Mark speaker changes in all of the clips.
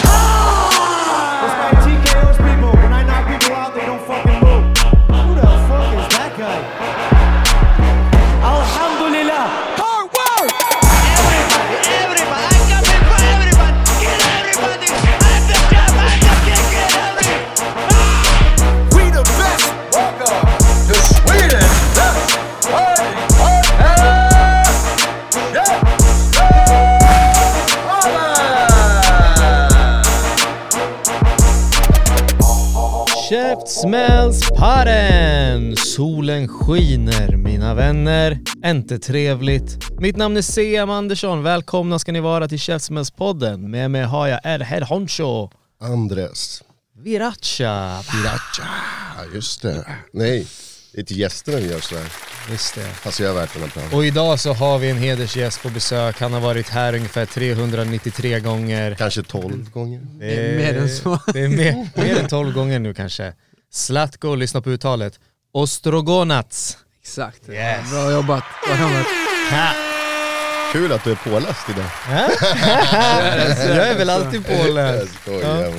Speaker 1: time!
Speaker 2: Like TKO's people, when I knock people out, they don't fucking move. Who the fuck is that guy?
Speaker 1: Alhamdulillah. Hard work!
Speaker 3: We the best. Welcome. The Sweden. Best. Party. Party. Yeah. Holla!
Speaker 4: Käftsmällspodden! Solen skiner, mina vänner. Inte trevligt. Mitt namn är CM Andersson. Välkomna ska ni vara till Käftsmällspodden. Med mig har jag El Herr Honcho.
Speaker 5: Andres.
Speaker 4: Viracha.
Speaker 5: Piracha. Just det. Nej, det är till gästerna vi gör sådär.
Speaker 4: Just det.
Speaker 5: Alltså jag är värt en applåd.
Speaker 4: Och idag så har vi en hedersgäst på besök. Han har varit här ungefär 393 gånger.
Speaker 5: Kanske tolv gånger.
Speaker 6: Mm.
Speaker 4: Det är mer än så. Det är mer, mer än 12 gånger nu kanske. Zlatko, lyssna på uttalet. Ostrogonats.
Speaker 6: Exakt.
Speaker 4: Yes.
Speaker 6: Bra jobbat. Bra jobbat.
Speaker 4: Ha.
Speaker 5: Kul att du är påläst idag.
Speaker 4: Jag är väl alltid påläst.
Speaker 5: skojar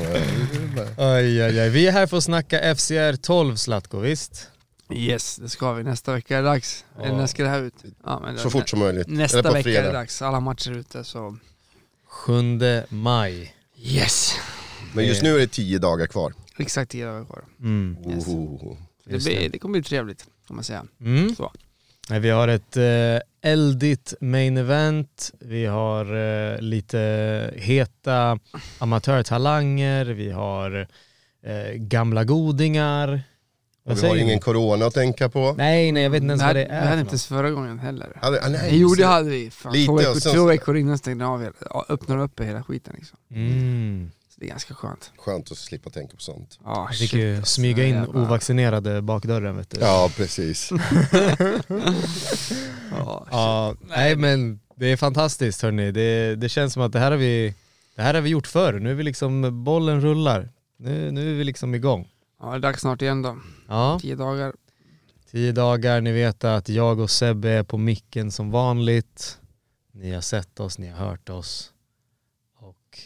Speaker 5: bara.
Speaker 4: Aj, aj, aj. Vi är här för att snacka FCR 12 Zlatko, visst?
Speaker 6: Yes, det ska vi. Nästa vecka är det dags. Eller när ska det här ut? Ja, men det-
Speaker 5: Så fort som möjligt.
Speaker 6: Nästa
Speaker 5: Eller på
Speaker 6: vecka är det
Speaker 5: fredag.
Speaker 6: dags. Alla matcher är ute så...
Speaker 4: 7 maj.
Speaker 6: Yes!
Speaker 5: Men just nu är det tio dagar kvar.
Speaker 6: Exakt tio dagar kvar.
Speaker 4: Mm.
Speaker 6: Yes.
Speaker 5: Ohoho.
Speaker 6: Det, blir, det kommer bli trevligt, kan man säga.
Speaker 4: Mm.
Speaker 6: Så.
Speaker 4: Nej, Vi har ett eh, eldigt main event, vi har eh, lite heta amatörtalanger, vi har eh, gamla godingar. Vad
Speaker 5: Och vi har
Speaker 4: säger
Speaker 5: ingen
Speaker 4: du?
Speaker 5: corona att tänka på.
Speaker 4: Nej, nej jag vet inte ens
Speaker 6: Det här,
Speaker 4: vad det
Speaker 6: det
Speaker 4: är.
Speaker 6: här
Speaker 4: för
Speaker 6: är inte ens förra gången heller.
Speaker 5: Ah, ah,
Speaker 6: Nej,
Speaker 5: nej,
Speaker 6: jo det hade vi. Fan,
Speaker 5: Lite
Speaker 6: två,
Speaker 5: och
Speaker 6: veckor,
Speaker 5: sen-
Speaker 6: två veckor innan stängde av hela- ja, öppnade upp hela skiten liksom.
Speaker 4: något. Mm.
Speaker 6: Så det är ganska skönt.
Speaker 5: Skönt att slippa tänka på sånt.
Speaker 6: Oh,
Speaker 4: Jag fick ju smyga in ovaccinerade bakdörren vet du.
Speaker 5: Ja, precis.
Speaker 6: Ah,
Speaker 4: Ja, nej men det är fantastiskt hörni. Det, det känns som att det här har vi, det här har vi gjort förr. Nu är vi liksom, bollen rullar. Nu, nu är vi liksom igång.
Speaker 6: Ja, det är dags snart igen då.
Speaker 4: Ja,
Speaker 6: Tio dagar.
Speaker 4: tio dagar, ni vet att jag och Sebbe är på micken som vanligt. Ni har sett oss, ni har hört oss. Och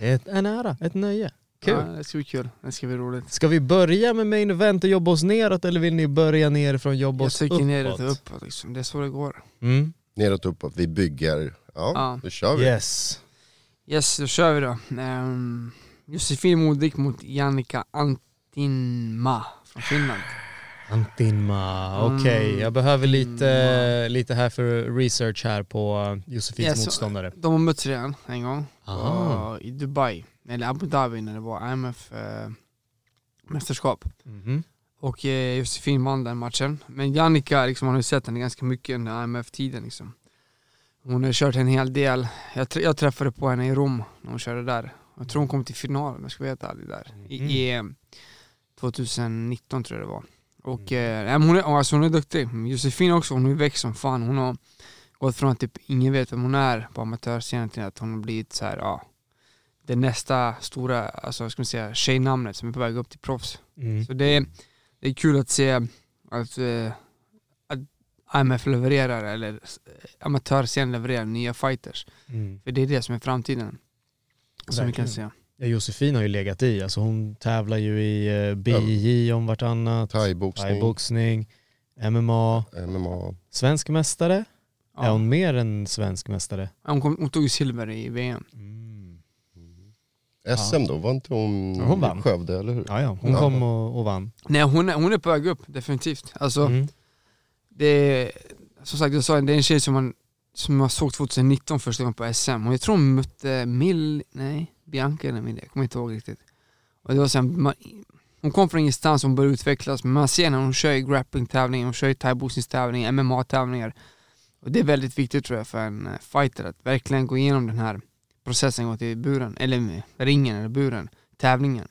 Speaker 4: det är ett- en ära, ett nöje.
Speaker 6: Ja,
Speaker 4: Kul.
Speaker 6: det ska bli kul. Det ska bli roligt.
Speaker 4: Ska vi börja med main event och jobba oss neråt eller vill ni börja nerifrån och jobba
Speaker 6: Jag
Speaker 4: oss
Speaker 6: tycker neråt och
Speaker 4: uppåt?
Speaker 6: uppåt liksom. Det är så det går.
Speaker 4: Mm.
Speaker 5: Neråt uppåt. Vi bygger. Ja,
Speaker 6: Ja.
Speaker 5: då kör vi.
Speaker 4: Yes.
Speaker 6: Yes, då kör vi då. Um, Josefin Modig mot Jannica Antinma från Finland.
Speaker 4: Antinma, okej.
Speaker 6: Mm.
Speaker 4: Jag behöver lite, lite här för research här på uh, Josefins
Speaker 6: Yes,
Speaker 4: motståndare.
Speaker 6: De har mötts redan en gång.
Speaker 4: Ah.
Speaker 6: Och I Dubai, eller Abu Dhabi när det var eh, IMF-mästerskap.
Speaker 4: Mhm.
Speaker 6: och eh, Josefin vann den matchen. Men Jannica, liksom, man har ju sett henne ganska mycket under IMF-tiden. Liksom. Hon har kört en hel del. Jag, tr- jag träffade på henne i Rom när hon körde där. Jag tror hon kom till final om jag ska vara helt ärlig där. I EM 2019 tror jag det var. Och eh, nej, men hon, är, alltså, hon är duktig. Men Josefin också, hon har ju växt som fan. Hon har gått från att typ ingen vet vem hon är på amatörscenen till att hon har blivit så här, ja, det nästa stora, alltså vad ska man säga, tjejnamnet som är på väg upp till proffs.
Speaker 4: Mm.
Speaker 6: Så det är, det är kul att se att, eh, att AMF levererar, eller eh, amatörscenen levererar nya fighters.
Speaker 4: Mm.
Speaker 6: För det är det som är framtiden. Som vi
Speaker 4: Verkligen.
Speaker 6: kan se.
Speaker 4: Ja, Josefin har ju legat i, alltså hon tävlar ju i eh, BJJ om vartannat,
Speaker 5: Thaiboxning,
Speaker 4: thaiboxning, MMA.
Speaker 5: MMA.
Speaker 4: Svensk mästare?
Speaker 6: Ja.
Speaker 4: Är
Speaker 6: Hon,
Speaker 4: hon mer än svensk mästare?
Speaker 6: kom, hon tog ju silver i VM. Mm.
Speaker 5: SM då, var inte hon,
Speaker 4: Ja, hon vann.
Speaker 5: i Skövde, eller hur?
Speaker 4: Ja, ja. Hon
Speaker 5: Ja.
Speaker 4: kom och, och vann.
Speaker 6: Nej hon är, hon är på väg upp, definitivt. Alltså,
Speaker 4: Mm.
Speaker 6: det är, som sagt jag sa, det är en tjej som man, som jag såg 2019 första gången på SM och jag tror hon mötte Mill, nej Bianca eller Mill, jag kommer inte ihåg riktigt. Och det var sen, man, hon kom från ingenstans, hon började utvecklas, men man ser när hon kör i grappling-tävlingar, hon kör i thaiboxningstävlingar, MMA-tävlingar. Och det är väldigt viktigt tror jag för en eh, fighter att verkligen gå igenom den här processen, gå till buren, eller eh, ringen eller buren, tävlingen.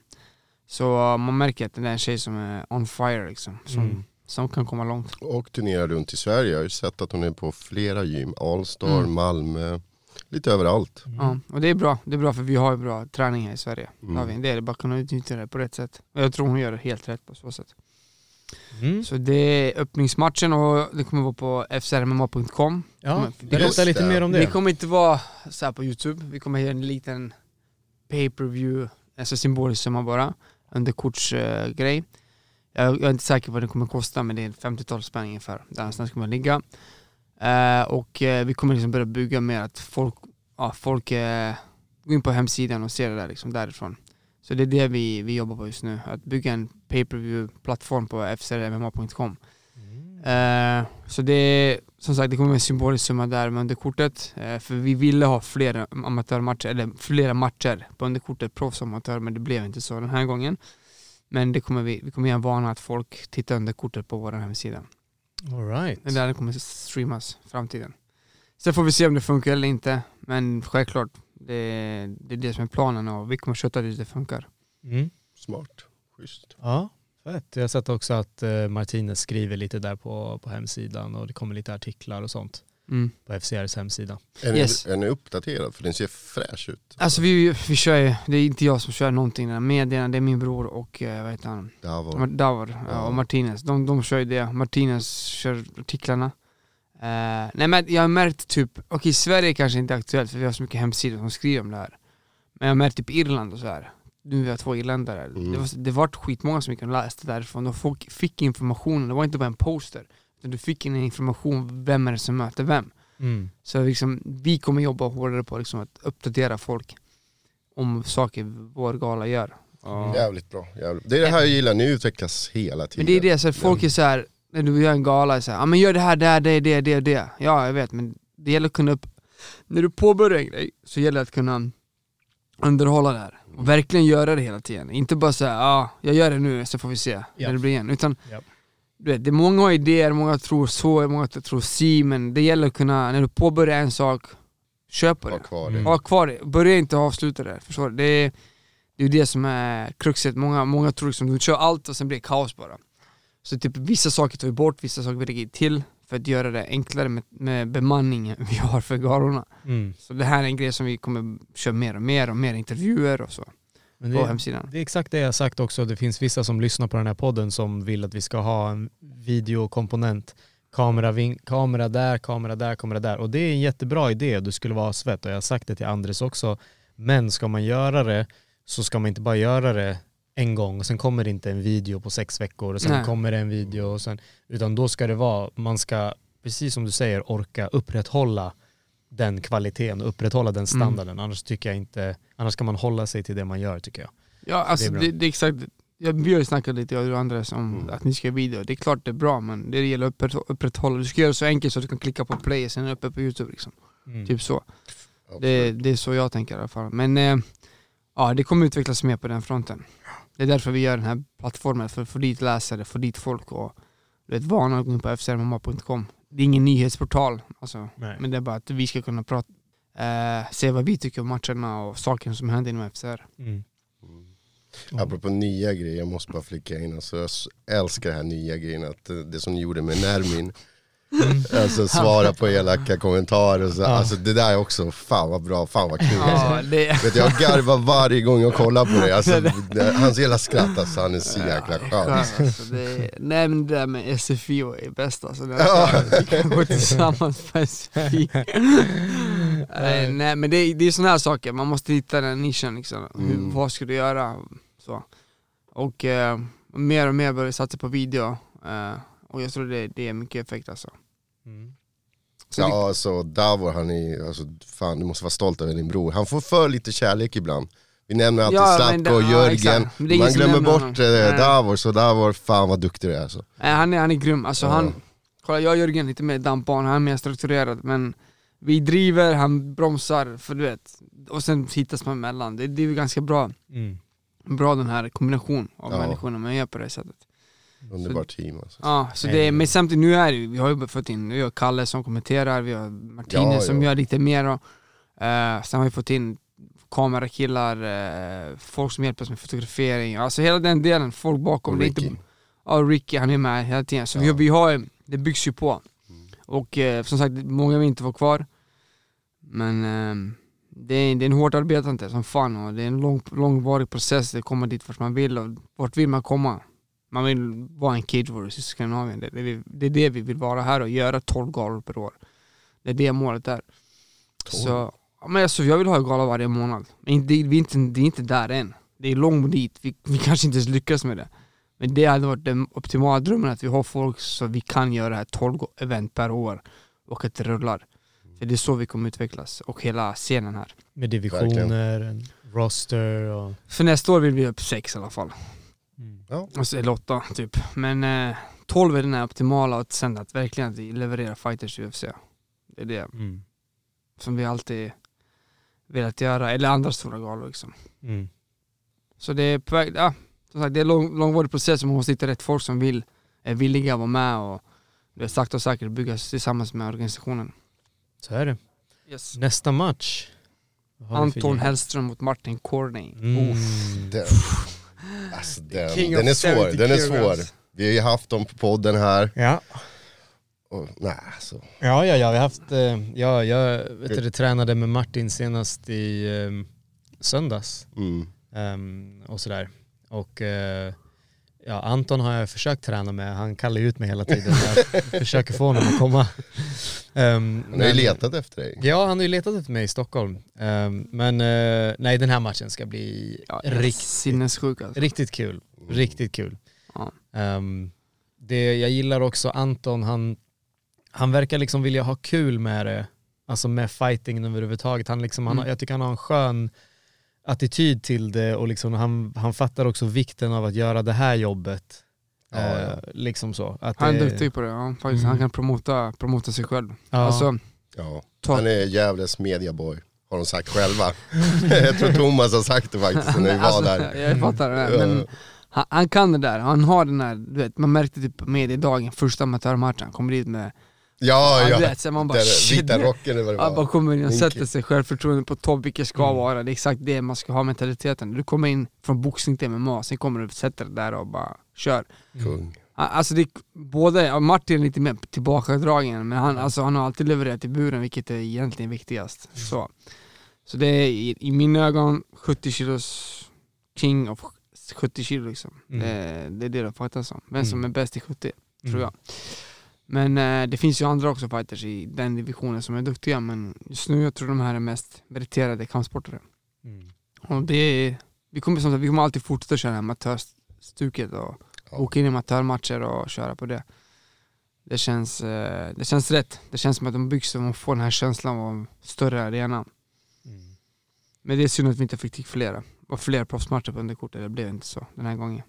Speaker 6: Så eh, man märker att det är en tjej som är on fire liksom, som,
Speaker 4: Mm.
Speaker 6: som kan komma långt.
Speaker 5: Och turnerar runt i Sverige. Jag har ju sett att hon är på flera gym. Allstar,
Speaker 6: Mm.
Speaker 5: Malmö, lite överallt.
Speaker 6: Ja, och det är bra. Det är bra för vi har ju bra träning här i Sverige.
Speaker 5: Mm.
Speaker 6: Har vi. Det är bara att kunna utnyttja det på rätt sätt. Och jag tror hon gör det helt rätt på så sätt.
Speaker 4: Mm.
Speaker 6: Så det är öppningsmatchen och det kommer vara på fcrmma.com.
Speaker 4: Ja,
Speaker 6: Just
Speaker 4: berätta lite
Speaker 5: det.
Speaker 4: mer om
Speaker 6: Det
Speaker 4: det.
Speaker 6: kommer inte vara så här på Youtube, vi kommer göra en liten pay-per-view, alltså symbolisk summa bara, underkortsgrej. jag, jag är inte säker på vad det kommer kosta men det är 50-tal spänn ungefär, där någonstans kommer det ligga. Eh, och eh, vi kommer liksom börja bygga mer att folk, ja, folk eh, går in på hemsidan och ser det där liksom därifrån. Så det är det vi, vi jobbar på just nu, att bygga en pay-per-view-plattform på fcrmma.com.
Speaker 4: Mm.
Speaker 6: Eh, så det är som sagt, det kommer vara en symbolisk summa där med underkortet. Eh, för vi ville ha flera amatörmatcher, eller flera matcher på underkortet, proffs och amatör, men det blev inte så den här gången. Men det kommer vi, vi kommer göra en vana att folk tittar under kortet på vår hemsida.
Speaker 4: All right.
Speaker 6: Det är där det kommer streamas i framtiden. Sen får vi se om det funkar eller inte, men självklart, det, det är det som är planen och vi kommer köta tills det funkar.
Speaker 4: Mm.
Speaker 5: Smart. Schysst.
Speaker 4: Ja, fett. Jag har sett också att eh, Martinez skriver lite där på, på hemsidan och det kommer lite artiklar och sånt
Speaker 6: Mm.
Speaker 4: på FCRs hemsida.
Speaker 5: Är,
Speaker 6: Yes.
Speaker 5: ni, är ni uppdaterad? För den ser fräsch ut.
Speaker 6: Alltså vi, vi kör ju, det är inte jag som kör någonting i den här medierna, det är min bror och eh, vad heter han?
Speaker 5: Det här var
Speaker 6: Mar- Davor ja.
Speaker 5: Ja.
Speaker 6: och Martinez, de, de kör ju det. Martinez kör artiklarna. Eh, nej men jag har märkt typ, okej Sverige kanske inte är aktuellt för vi har så mycket hemsidor som skriver om det här. Men jag har märkt typ Irland och så här. nu vi har två irländare.
Speaker 5: Mm.
Speaker 6: Det, var, det vart skitmånga som gick och läste därifrån. De folk fick informationen, det var inte bara en poster. Utan du fick en information, vem är det som möter vem?
Speaker 4: Mm.
Speaker 6: Så liksom, vi kommer jobba hårdare på liksom att uppdatera folk om saker vår gala gör. Ja.
Speaker 5: jävligt bra. Jävligt. Det är det här jag gillar, ni utvecklas hela tiden.
Speaker 6: Men det är det, så att folk är så här när du gör en gala, är så här, ja men gör det här, det här, det, det, det, det. Ja, jag vet, men det gäller att kunna upp... När du påbörjar en grej så gäller det att kunna underhålla det här. Och verkligen göra det hela tiden. Inte bara säga ja, jag gör det nu så får vi se
Speaker 4: Ja.
Speaker 6: när det blir igen. Utan
Speaker 4: Ja.
Speaker 6: du vet, det är många idéer, många tror så, många tror si, men det gäller att kunna, när du påbörjar en sak, köp på
Speaker 5: Ha
Speaker 6: det.
Speaker 5: kvar
Speaker 4: Mm.
Speaker 5: det.
Speaker 6: Ha kvar det, börja inte avsluta det. Förstår du? Det är det, är ju det som är kruxet. Många, många tror liksom, du kör allt och sen blir det kaos bara. Så typ vissa saker tar vi bort, vissa saker vi lägger till för att göra det enklare med, med bemanningen vi har för galorna.
Speaker 4: Mm.
Speaker 6: Så det här är en grej som vi kommer köra mer och mer och mer intervjuer och så
Speaker 4: Men
Speaker 6: på
Speaker 4: det,
Speaker 6: hemsidan.
Speaker 4: det är exakt det jag har sagt också. Det finns vissa som lyssnar på den här podden som vill att vi ska ha en videokomponent. Kamera, vin- kamera där, kamera där, kamera där. Och det är en jättebra idé. Du skulle vara svett och jag har sagt det till Andres också. Men ska man göra det så ska man inte bara göra det en gång och sen kommer det inte en video på sex veckor och sen
Speaker 6: Nej.
Speaker 4: kommer det en video och sen, utan då ska det vara, man ska, precis som du säger, orka upprätthålla den kvaliteten och upprätthålla den standarden. Annars tycker jag inte, annars ska man hålla sig till det man gör tycker jag.
Speaker 6: Ja, alltså
Speaker 4: bra. Mm.
Speaker 6: det, det är exakt, jag, vi har ju snackat lite, jag och du Andres, om att ni ska göra video. Det är klart det är bra, men det gäller att upprätthå- upprätthålla. Du ska göra det så enkelt så att du kan klicka på play och sen är det uppe på YouTube liksom.
Speaker 4: Mm.
Speaker 6: Typ så. Det, det är så jag tänker i alla fall. Men eh, ja, det kommer utvecklas mer på den fronten. Det är därför vi gör den här plattformen, för att få dit läsare, få dit folk och du vet, vana att gå in på fcrmma.com. Det är ingen nyhetsportal, alltså,
Speaker 4: Nej.
Speaker 6: men det är bara att vi ska kunna prata, eh, se vad vi tycker om matcherna och saker som händer inom FCR.
Speaker 4: Mm.
Speaker 5: Apropå nya grejer, jag måste bara flika in. Alltså, jag s- älskar det här nya grejen, att eh, det som ni gjorde med Nermin.
Speaker 6: Mm.
Speaker 5: Alltså svara på elaka kommentarer och så. Alltså det där är också, fan vad bra, fan vad kul. Alltså.
Speaker 6: Ja, det,
Speaker 5: Vet du, jag garvar varje gång jag kollar på det. Alltså, det- hans hela skratt, alltså, han är så jäkla skön.
Speaker 6: alltså, det, nej men det där med SFIO är bäst alltså. Det här, vi kan gå tillsammans på SFI. nej, nej men det, det är sådana här saker, man måste hitta den nischen liksom.
Speaker 5: Mm.
Speaker 6: Hur, vad ska du göra? Så. Och eh, mer och mer börjar vi satsa på video. Eh, och jag tror det, det är mycket effekt alltså.
Speaker 4: Mm.
Speaker 6: Så det,
Speaker 5: Ja, alltså Davor, han är, alltså, fan du måste vara stolt över din bror. Han får för lite kärlek ibland. Vi nämner alltid
Speaker 6: Ja, men
Speaker 5: Zlatko
Speaker 6: det-
Speaker 5: och
Speaker 6: ja,
Speaker 5: Jörgen.
Speaker 6: exakt. Men det är ingen
Speaker 5: Man
Speaker 6: som
Speaker 5: glömmer
Speaker 6: nämner
Speaker 5: bort
Speaker 6: honom. Nej.
Speaker 5: eh, Davor, så Davor, fan vad duktig du är alltså.
Speaker 6: nej, han, är, han är grym, alltså
Speaker 5: Ja.
Speaker 6: han, kolla jag och Jörgen är lite mer dampbarn, han är mer strukturerad men vi driver, han bromsar, för du vet. Och sen hittas man emellan, det, det är ju ganska bra.
Speaker 4: Mm.
Speaker 6: bra den här kombinationen av
Speaker 5: Ja.
Speaker 6: människorna man gör på det här sättet.
Speaker 5: Underbart team alltså.
Speaker 6: Ja, så
Speaker 4: Nej,
Speaker 6: det,
Speaker 4: men-
Speaker 6: men samtidigt, nu är det ju, vi har ju fått in, vi har Kalle som kommenterar, vi har Martinez
Speaker 5: Ja, ja.
Speaker 6: som gör lite mer och, eh, sen har vi fått in kamerakillar, eh, folk som hjälper oss med fotografering, alltså hela den delen, folk bakom.
Speaker 5: Och
Speaker 6: Det är inte-
Speaker 5: Ricky.
Speaker 6: Ja, Ricky han är med hela tiden. Så vi,
Speaker 5: Ja.
Speaker 6: vi har, ju- det byggs ju på. Och eh, som sagt, många vill inte vara kvar. Men eh, det, är, det är en hårt arbetande som fan och det är en lång, långvarig process att komma dit vart man vill och vart vill man komma? Man vill vara en kid warriors i Skandinavien. Det, det, vi- det är det vi vill vara här och göra 12 galor per år. Det är det målet är. Så, ja, men alltså, jag vill ha en gala varje månad. Men det, vi är inte, det är inte där än. Det är långt dit, vi, vi kanske inte ens lyckas med det. Men det hade varit den optimala drömmen, att vi har folk så vi kan göra här 12 event per år och att det rullar. För det är så vi kommer utvecklas och hela scenen här.
Speaker 4: Med divisioner, en roster och...
Speaker 6: För nästa år vill vi upp sex i alla fall.
Speaker 4: Mm.
Speaker 5: Ja.
Speaker 6: Alltså, eller åtta typ. Men eh, 12 är den här optimala och sen att verkligen att vi levererar fighters i UFC. Det är det
Speaker 4: Mm.
Speaker 6: som vi alltid velat göra, eller andra stora galor liksom.
Speaker 4: Mm.
Speaker 6: Så det är på väg, ja, som sagt det är en lång, långvarig process, man måste hitta rätt folk som vill, är villiga att vara med och det är sakta och säkert byggas tillsammans med organisationen.
Speaker 4: Så är det. Nästa match. Vad har vi för
Speaker 6: Anton
Speaker 4: gäng?
Speaker 6: Hellström mot Martin Corney.
Speaker 4: Mm.
Speaker 5: Den, alltså den,
Speaker 6: King of
Speaker 5: den är
Speaker 6: 70
Speaker 5: svår, den är
Speaker 6: kilograms.
Speaker 5: svår. Vi har ju haft dem på podden här.
Speaker 4: Ja.
Speaker 5: Och, nej, alltså.
Speaker 4: Ja, ja, ja, vi har haft, eh, ja, jag vet du, tränade med Martin senast i eh, söndags
Speaker 5: Mm.
Speaker 4: ehm, och sådär. Och eh, ja, Anton har jag försökt träna med, han kallar ju ut mig hela tiden. Jag försöker få honom att komma. Ehm,
Speaker 5: Han har ju
Speaker 4: men-
Speaker 5: letat efter dig.
Speaker 4: Ja, han har ju letat efter mig i Stockholm. Ehm, men eh, nej, den här matchen ska bli
Speaker 6: Ja,
Speaker 4: rikt,
Speaker 6: Sinnessjuk alltså.
Speaker 4: riktigt kul. Riktigt kul.
Speaker 6: Ja.
Speaker 4: Ehm, det, jag gillar också Anton, han, han verkar liksom vilja ha kul med det, alltså med fighting överhuvudtaget. Han liksom, han, har-
Speaker 6: Mm.
Speaker 4: Jag tycker han har en skön attityd till det och liksom, han, han fattar också vikten av att göra det här jobbet.
Speaker 5: Ja, ja.
Speaker 4: Eh, liksom så. Att
Speaker 6: Han är
Speaker 4: det-
Speaker 6: duktig på det, ja, faktiskt.
Speaker 4: Mm.
Speaker 6: han kan promota, promota sig själv.
Speaker 4: Ja.
Speaker 6: Alltså,
Speaker 5: Ja.
Speaker 6: Ta-
Speaker 5: Han är Gävles mediaboy, har de sagt själva. jag tror Thomas har sagt det faktiskt när vi var
Speaker 6: alltså,
Speaker 5: där.
Speaker 6: Jag fattar det, men han, han kan det där, han har den där, du vet, man märkte typ mediedagen, första amatörmatchen, han kommer dit med,
Speaker 5: Ja,
Speaker 6: ja,
Speaker 5: ja.
Speaker 6: du vet, så man bara
Speaker 5: Den
Speaker 6: shit,
Speaker 5: vita
Speaker 6: det-
Speaker 5: rocken eller vad det
Speaker 6: Han bara
Speaker 5: var.
Speaker 6: kommer in och
Speaker 5: Thank
Speaker 6: sätter
Speaker 5: you.
Speaker 6: sig självförtroende på topp, vilket ska
Speaker 5: Mm.
Speaker 6: vara, det är exakt det man ska ha mentaliteten. Du kommer in från boxning till MMA, sen kommer du och sätter dig där och bara kör.
Speaker 4: Mm.
Speaker 5: Kung.
Speaker 6: Ah, Alltså det är både, ja, Martin är lite mer tillbakadragen, men han, alltså, han har alltid levererat i buren, vilket är egentligen viktigast.
Speaker 4: Mm.
Speaker 6: Så, så det är i, i mina ögon 70 kilos king of 70 kilo liksom.
Speaker 4: Mm.
Speaker 6: Det, det är det de fightas som. Vem som är
Speaker 4: Mm.
Speaker 6: bäst i 70,
Speaker 4: Mm.
Speaker 6: tror jag. Men eh, det finns ju andra också fighters i den divisionen som är duktiga, men just nu jag tror de här är mest meriterade kampsportare.
Speaker 4: Mm.
Speaker 6: Och det är, vi, kommer, som sagt, vi kommer alltid fortsätta köra amatörstuket och
Speaker 5: Ja.
Speaker 6: åka in i amatörmatcher och köra på det. Det känns, eh, det känns rätt. Det känns som att de byggs och man får den här känslan av en större arena.
Speaker 4: Mm.
Speaker 6: Men det är synd att vi inte fick till flera. Och fler proffsmatcher på underkortet, det blev inte så den här gången.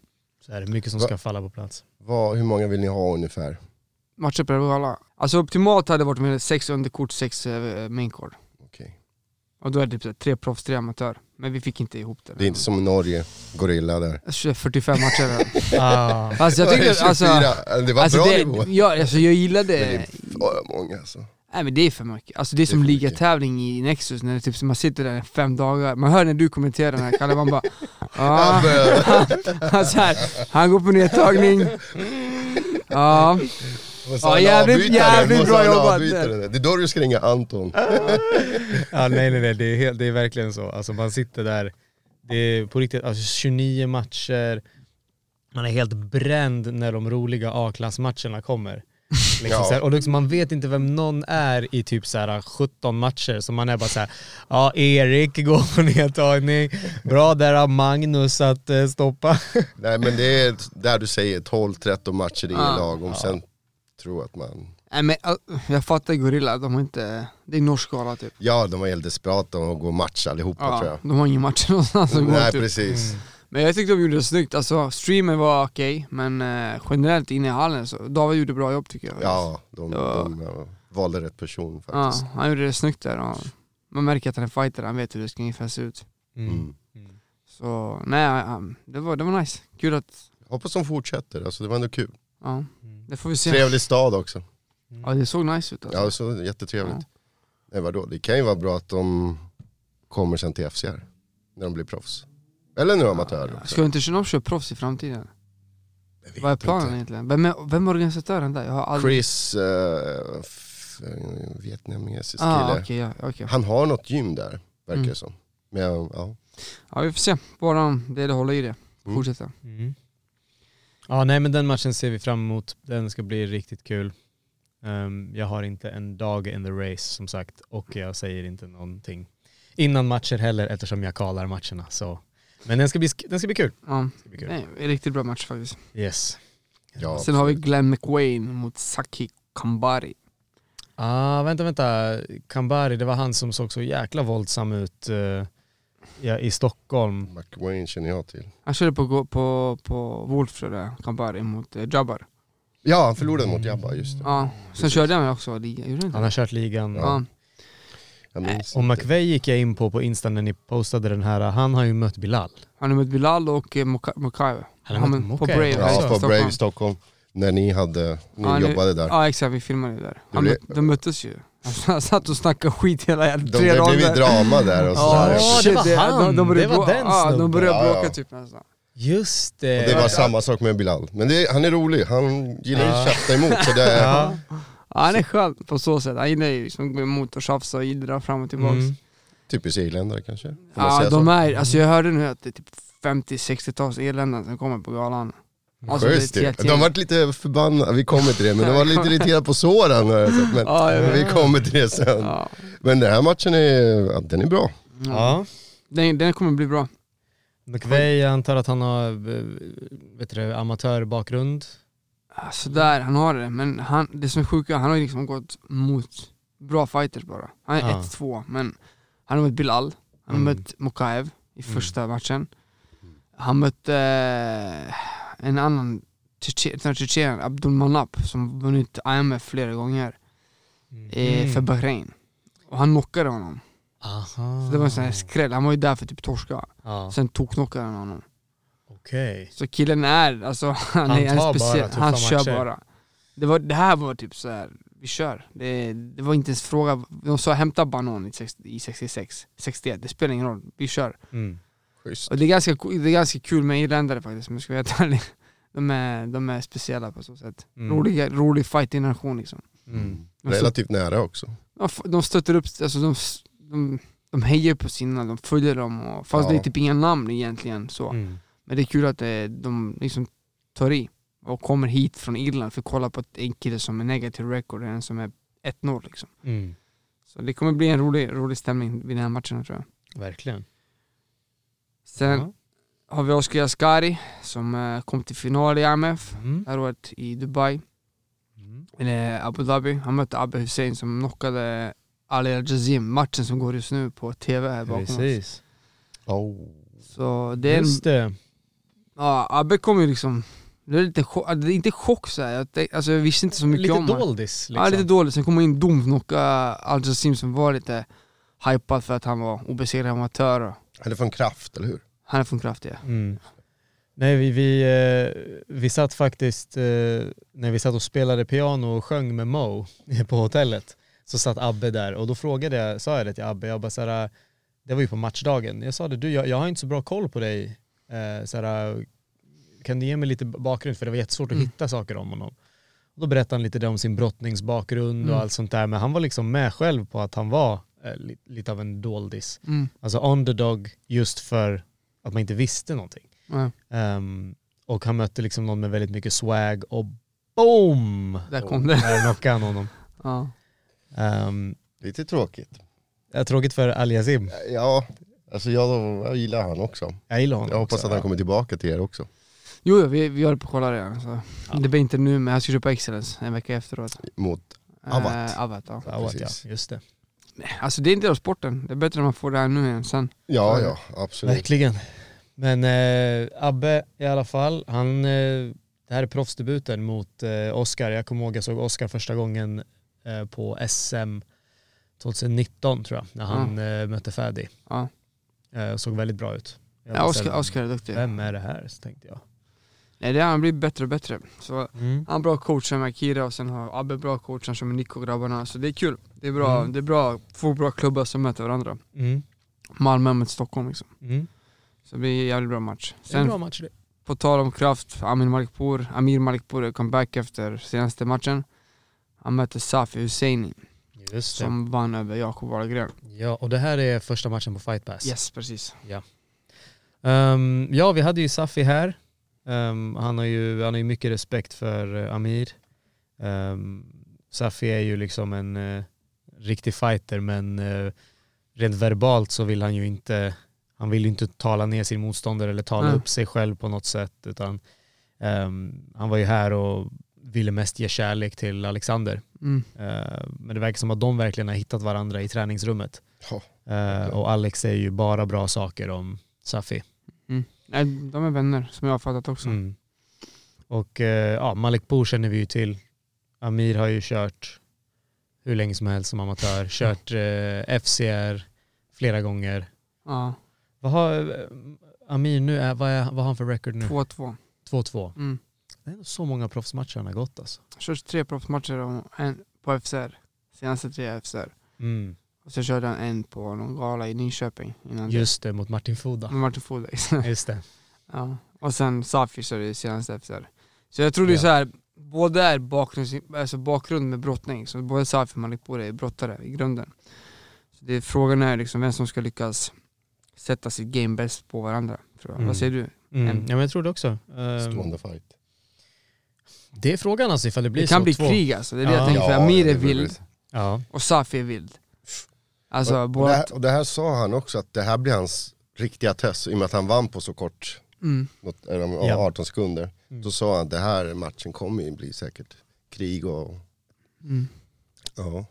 Speaker 4: Så är det mycket som
Speaker 5: Va-
Speaker 4: ska falla på plats.
Speaker 5: Vad, hur många vill ni ha ungefär?
Speaker 6: Matcher per gala. Alltså optimalt hade det varit med sex underkort, sex eh, mainkort.
Speaker 5: Okej.
Speaker 6: Och då är det typ så här tre proffs, tre amatör. Men vi fick inte ihop det.
Speaker 5: Det är inte som Norge, gorilla där.
Speaker 6: Alltså, 45 matcher.
Speaker 4: Ah,
Speaker 6: alltså jag tycker... Alltså,
Speaker 5: 24. det var
Speaker 6: alltså,
Speaker 5: bra
Speaker 6: det,
Speaker 5: nivå.
Speaker 6: jag, alltså jag gillade...
Speaker 5: Men det är för många alltså.
Speaker 6: Nej men det är för mycket. Alltså det är
Speaker 5: Det är
Speaker 6: som
Speaker 5: för mycket.
Speaker 6: ligatävling i Nexus när det typ, man sitter där i fem dagar. Man hör när du kommenterar den här Kalle, man bara ah. han, så här, han går på nedtagning. Ja,
Speaker 5: Måste
Speaker 6: Ja,
Speaker 5: ha en
Speaker 6: jävligt-
Speaker 5: avbytare,
Speaker 6: jävligt
Speaker 5: måste
Speaker 6: bra
Speaker 5: ha en
Speaker 6: jobbat. Äh,
Speaker 5: avbytare. Det är då du ska ringa Anton.
Speaker 4: ja, nej, nej, nej, det är, helt, det är verkligen så. Alltså man sitter där, det är på riktigt alltså 29 matcher, man är helt bränd när de roliga A-klassmatcherna kommer. Liksom
Speaker 5: Ja.
Speaker 4: så här, och liksom, man vet inte vem någon är i typ så här 17 matcher, så man är bara så här, ja Erik går på nedtagning, bra där av Magnus att eh, stoppa.
Speaker 5: Nej men det är där du säger 12-13 matcher i
Speaker 6: Ah.
Speaker 5: lagom. Sen tror att man...
Speaker 6: nej men äh, jag fattar Gorilla, de har inte, det är norsk gala typ.
Speaker 5: Ja de var helt desperata om att gå match allihopa tror
Speaker 6: Ja,
Speaker 5: jag.
Speaker 6: de har ingen match någonstans att gå
Speaker 5: Nej
Speaker 6: typ.
Speaker 5: precis.
Speaker 6: Men jag tyckte de gjorde det snyggt, alltså streamen var okej, men eh, generellt inne i hallen så, David gjorde bra jobb tycker jag.
Speaker 5: Ja, de,
Speaker 6: Det var-
Speaker 5: de eh, valde rätt person
Speaker 6: ja
Speaker 5: faktiskt.
Speaker 6: han gjorde det snyggt där och man märker att han är fighter, han vet hur det ska ungefär se ut.
Speaker 5: Mm.
Speaker 6: Så nej, um, det var, det var nice. Kul att,
Speaker 5: Hoppas de fortsätter, alltså, det var ändå kul.
Speaker 6: ja,
Speaker 4: Mm.
Speaker 6: det får vi se.
Speaker 5: Trevlig stad också.
Speaker 6: Ja det såg nice ut alltså.
Speaker 5: Ja, så jättetrevligt. Nej vadå, det kan ju vara bra att de kommer sen till FCR. När de blir proffs. Eller nu amatörer också.
Speaker 6: Ska inte Shinov köra proffs i framtiden?
Speaker 5: Jag vet
Speaker 6: Vad är planen
Speaker 5: inte.
Speaker 6: egentligen? Vem är, vem är organisatören där? Jag har aldrig...
Speaker 5: Chris, eh, f- eh, vietnamesisk
Speaker 6: Ah,
Speaker 5: kille.
Speaker 6: okej, ja, okej.
Speaker 5: Han har något gym där, verkar det
Speaker 6: Mm.
Speaker 5: som. Men ja, ja.
Speaker 6: ja vi får se. Bara det håller i det.
Speaker 5: Mm.
Speaker 6: Fortsätta.
Speaker 4: Mm. Ja, nej men den matchen ser vi fram emot. Den ska bli riktigt kul. Ehm, jag har inte en dag in the race som sagt och jag säger inte någonting innan matcher heller eftersom jag kallar matcherna. Så. Men den ska bli, sk- den ska bli kul.
Speaker 6: Ja,
Speaker 4: Den ska bli
Speaker 6: det
Speaker 4: kul.
Speaker 6: är en riktigt bra match faktiskt.
Speaker 4: Yes.
Speaker 5: Ja,
Speaker 6: Sen har vi Glenn McWayne mot Saki Kambari.
Speaker 4: Ah, vänta, vänta. Kambari, det var han som såg så jäkla våldsam ut eh, ja, i Stockholm.
Speaker 5: McWayne känner jag till.
Speaker 6: Han körde på, på, på Wolf tror jag, Kambari mot eh, Jabbar.
Speaker 5: Ja, han förlorade mot Jabba, just det.
Speaker 6: Ja, sen körde han också liga, gjorde han inte?
Speaker 4: Han har kört ligan.
Speaker 6: Ja.
Speaker 5: Jag minns
Speaker 4: Och
Speaker 5: inte.
Speaker 4: McVeigh gick jag in på på Insta när ni postade den här. Han har ju mött Bilal.
Speaker 6: Han har mött Bilal och eh, Moka- Mokaev.
Speaker 4: Han har
Speaker 6: Ja,
Speaker 4: mött
Speaker 6: men på
Speaker 4: Mokaev
Speaker 6: Brave.
Speaker 4: också.
Speaker 6: här i
Speaker 5: Ja, på
Speaker 6: Stockholm.
Speaker 5: Brave Stockholm. När ni hade, ni
Speaker 6: Ja, nu-
Speaker 5: jobbade där.
Speaker 6: Ja exakt, vi filmade ju där. Han
Speaker 5: blev-
Speaker 6: möt, de möttes ju. Han satt och snackade skit hela jävla
Speaker 5: De,
Speaker 6: tre
Speaker 5: det blev ju
Speaker 6: rader.
Speaker 5: drama där och sådär.
Speaker 4: Ja,
Speaker 6: shit,
Speaker 4: det var han.
Speaker 6: började
Speaker 4: Det var
Speaker 6: bro-
Speaker 4: den
Speaker 6: Ja, de
Speaker 4: snubben.
Speaker 6: började
Speaker 5: Ja, ja.
Speaker 6: bråka typ nästan.
Speaker 4: Just
Speaker 5: Och
Speaker 4: det.
Speaker 5: det var samma sak med Bilal. Men det, han är rolig, han gillar ju att tjafsa emot. Så det,
Speaker 4: Ja.
Speaker 6: Ja, han är skön på så sätt. Han gillar ju liksom att gå emot och tjafsa och jiddra fram och tillbaks.
Speaker 4: Mm.
Speaker 5: Typiskt irländare kanske? Får man
Speaker 6: Ja,
Speaker 5: säga
Speaker 6: de
Speaker 5: så?
Speaker 6: är, alltså jag hörde nu att det är typ 50-60-tals irländare som kommer på galan. Alltså, det är
Speaker 5: Schysst
Speaker 6: ett
Speaker 5: ju.
Speaker 6: helt
Speaker 5: De
Speaker 6: gäng.
Speaker 5: vart lite förbannade, vi kommer till det, men de var lite irriterade på Soran har jag sett. Men
Speaker 6: Ja, jag vet.
Speaker 5: vi kommer till det sen.
Speaker 6: Ja.
Speaker 5: Men den här matchen är, ja, den är bra.
Speaker 4: Ja.
Speaker 6: Den, den kommer bli bra.
Speaker 4: McVeigh, jag antar att han har eh, vet du, det, amatörbakgrund.
Speaker 6: Alltså där, han har det. Men han, det som är sjuka, han har ju liksom gått mot bra fighters bara. Han är
Speaker 4: Ja.
Speaker 6: 1-2, men han har mött Bilal, han har
Speaker 4: Mm.
Speaker 6: mött Mokaev i första matchen. Han mötte eh, en annan tjetje- utan tjetjen, Abdulmanap, som vunnit IMF flera gånger eh,
Speaker 4: Mm.
Speaker 6: för Bahrain. Och han knockade honom.
Speaker 4: Aha.
Speaker 6: Så det var en sån här skräll, han var ju där för typ torska.
Speaker 4: Ah. Ja,
Speaker 6: Sen tokknockade han honom.
Speaker 4: okej.
Speaker 6: Så killen är, alltså han,
Speaker 4: Han
Speaker 6: är en
Speaker 4: tar bara typ
Speaker 6: speciell,
Speaker 4: tuffa
Speaker 6: han kör
Speaker 4: matcher.
Speaker 6: bara. Det, var, det här var typ så här. vi kör. Det, det var inte ens fråga, de sa hämta banan i, 60, i 66, 61, det spelar ingen roll, vi kör.
Speaker 4: Mm.
Speaker 5: Schysst.
Speaker 6: Och det är ganska, ko- det är ganska kul med irländare faktiskt om jag ska vara helt ärlig. De är, de är speciella på så sätt.
Speaker 4: Mm.
Speaker 6: Roliga, rolig fighting-nation liksom.
Speaker 4: Mm.
Speaker 6: De, stö,
Speaker 5: Relativt nära också.
Speaker 6: de f- de stöttar upp, alltså de, s- de, de hejar på sina, de följer dem och, fast
Speaker 5: Ja.
Speaker 6: det är typ inga namn egentligen så.
Speaker 4: Mm.
Speaker 6: Men det är kul att eh, de liksom tar i och kommer hit från Irland för att kolla på ett- en kille som är negativ record och en som är 1-0 liksom.
Speaker 4: Mm.
Speaker 6: Så det kommer bli en rolig, rolig stämning vid den här matchen tror jag.
Speaker 4: Verkligen.
Speaker 6: Sen
Speaker 4: Ja.
Speaker 6: har vi Oskar Jaskari som eh, kom till final i AMF
Speaker 4: Mm.
Speaker 6: det här året i Dubai,
Speaker 4: Mm.
Speaker 6: eller Abu Dhabi. Han mötte Abbe Hussein som knockade Ali Al-Jazim, matchen som går just nu på TV här bakom oss.
Speaker 4: Precis.
Speaker 5: Oh.
Speaker 6: Så det är en
Speaker 4: Just det.
Speaker 6: Ja, Abbe kom ju liksom, det är lite chock, det är inte chock så här. Jag, tänkte, alltså, jag visste inte så mycket
Speaker 4: Lite
Speaker 6: om honom.
Speaker 4: doldis
Speaker 6: Ja,
Speaker 4: liksom.
Speaker 6: lite dåligt. Sen kom in Domnok Al-Jassim som var lite hypad för att han var obesegrad amatör och
Speaker 5: Han är från Kraft, eller hur?
Speaker 6: han är från Kraftiga.
Speaker 4: Mm. Nej, vi, vi, eh, vi satt faktiskt, eh, när vi satt och spelade piano och sjöng med Mo på hotellet, så satt Abbe där och då frågade jag, sa jag det till Abbe, jag bara såhär, det var ju på matchdagen, jag sa det, du jag, jag har inte så bra koll på dig, eh, såhär, kan du ge mig lite bakgrund för det var jättesvårt att
Speaker 6: Mm.
Speaker 4: hitta saker om honom. Och då berättade han lite där om sin brottningsbakgrund
Speaker 6: Mm.
Speaker 4: och allt sånt där, men han var liksom med själv på att han var eh, li, lite av en doldis,
Speaker 6: Mm.
Speaker 4: alltså underdog just för att man inte visste någonting.
Speaker 6: Ja,
Speaker 4: Ehm, och han mötte liksom någon med väldigt mycket swag och boom!
Speaker 6: där kom det.
Speaker 4: Där knockade han honom.
Speaker 6: Ja.
Speaker 4: Um,
Speaker 5: Lite tråkigt.
Speaker 4: tråkigt för Ali Azim.
Speaker 5: Ja, alltså jag, jag gillar han också.
Speaker 4: Jag gillar honom
Speaker 5: Jag hoppas
Speaker 4: också.
Speaker 5: att han kommer tillbaka till er också.
Speaker 6: Jo, jo, vi, vi håller på att kolla redan. Så. Det blir inte nu, men jag ska köpa Excellence en vecka efteråt.
Speaker 5: Mot,
Speaker 6: Eh,
Speaker 5: Avat.
Speaker 6: Avat, ja.
Speaker 4: Ja, åt, ja.
Speaker 5: Precis.
Speaker 4: Just det.
Speaker 6: Alltså det är en del av sporten. Det är bättre om man får det här nu än sen.
Speaker 5: ja, ja, absolut.
Speaker 4: Verkligen. Men eh, Abbe i alla fall, han, eh, det här är proffsdebuten mot eh, Oscar. Jag kommer ihåg jag såg Oscar första gången eh, på SM 2019 tror jag, när han eh, mötte Fadi.
Speaker 6: Ja.
Speaker 4: Eh, såg väldigt bra ut. Jag
Speaker 6: Ja,
Speaker 4: bara,
Speaker 6: Oscar,
Speaker 4: så här,
Speaker 6: Oscar är duktig.
Speaker 4: Vem är det här? Så tänkte jag.
Speaker 6: Nej, det är, han blir bättre och bättre. Så Han har bra coacher med Akira och sen har Abbe bra coacher som är Nico och grabbarna, så det är kul. Det är bra,
Speaker 4: Mm.
Speaker 6: det är bra, två bra klubbar som möter varandra.
Speaker 4: Mm.
Speaker 6: Malmö mot Stockholm liksom.
Speaker 4: Mm.
Speaker 6: Så det blir en jävligt bra match.
Speaker 4: Det är en bra
Speaker 6: Sen
Speaker 4: match det.
Speaker 6: på tal om kraft, Amir Malikpour, Amir Malikpour är comeback efter senaste matchen. Han möter Safi Husseini
Speaker 4: Just det.
Speaker 6: som vann över Jakob Ahlgren.
Speaker 4: Ja, och det här är första matchen på Fight Pass.
Speaker 6: Yes, precis.
Speaker 4: Ehm, ja, vi hade ju Safi här. Ehm, han, har ju, han har ju mycket respekt för eh, Amir. Um, Safi är ju liksom en eh, riktig fighter men eh, rent verbalt så vill han ju inte, han vill ju inte tala ner sin motståndare eller tala
Speaker 6: Nej.
Speaker 4: upp sig själv på något sätt utan ehm, han var ju här och ville mest ge kärlek till Alexander.
Speaker 6: Mm.
Speaker 4: Eh, Men det verkar som att de verkligen har hittat varandra i träningsrummet.
Speaker 5: Ja.
Speaker 4: Eh, Och Alex säger ju bara bra saker om Safi.
Speaker 6: Nej, de är vänner som jag har fattat också.
Speaker 4: Mm. Och eh, ja, Malik Bou känner vi ju till. Amir har ju kört hur länge som helst som amatör. Kört eh, FCR flera gånger.
Speaker 6: Ja,
Speaker 4: Vad har eh, Amir nu? Är, vad, är, vad har han för record nu?
Speaker 6: 2-2.
Speaker 4: 2-2.
Speaker 6: Mm.
Speaker 4: Det är ändå så många proffsmatcher han har gått alltså.
Speaker 6: Kört tre proffsmatcher och en på FCR. Senaste tre FCR.
Speaker 4: Mm.
Speaker 6: Och så körde han en på någon gala i Nyköping innan
Speaker 4: Just det, Mm. mot Martin
Speaker 6: det.
Speaker 4: Foda.
Speaker 6: Med Martin Fodays.
Speaker 4: Just det.
Speaker 6: ja. Och sen Safi körde ju senaste FCR. Så jag tror det är
Speaker 4: Ja.
Speaker 6: så här, båda är bakgrund, alltså bakgrund med brottning. Så både Safi och Malik Bore är brottare i grunden. Så det är, frågan är liksom vem som ska lyckas sätta sitt game bäst på varandra. Tror jag.
Speaker 4: Mm.
Speaker 6: Vad säger du?
Speaker 4: Mm.
Speaker 6: En-
Speaker 4: Ja, men jag tror det också. Ehm,
Speaker 5: Stående fight.
Speaker 4: Det är frågan alltså ifall det blir
Speaker 6: Det kan
Speaker 4: så.
Speaker 6: bli
Speaker 4: två.
Speaker 6: krig alltså, det är det
Speaker 4: Ja.
Speaker 6: jag tänker. För
Speaker 5: Ja,
Speaker 6: Amir
Speaker 5: det
Speaker 6: är
Speaker 5: blir väl-
Speaker 6: vild
Speaker 4: Ja.
Speaker 6: och Safi är vild. Alltså
Speaker 5: och, det
Speaker 6: båda...
Speaker 5: här, och det här sa han också, att det här blir hans riktiga test. I och med att han vann på så kort,
Speaker 6: Mm.
Speaker 5: något, eller, ja,
Speaker 4: Ja.
Speaker 5: 18 sekunder. Så sa han att det här matchen kommer ju bli säkert krig och...
Speaker 6: Mm.
Speaker 5: Ja,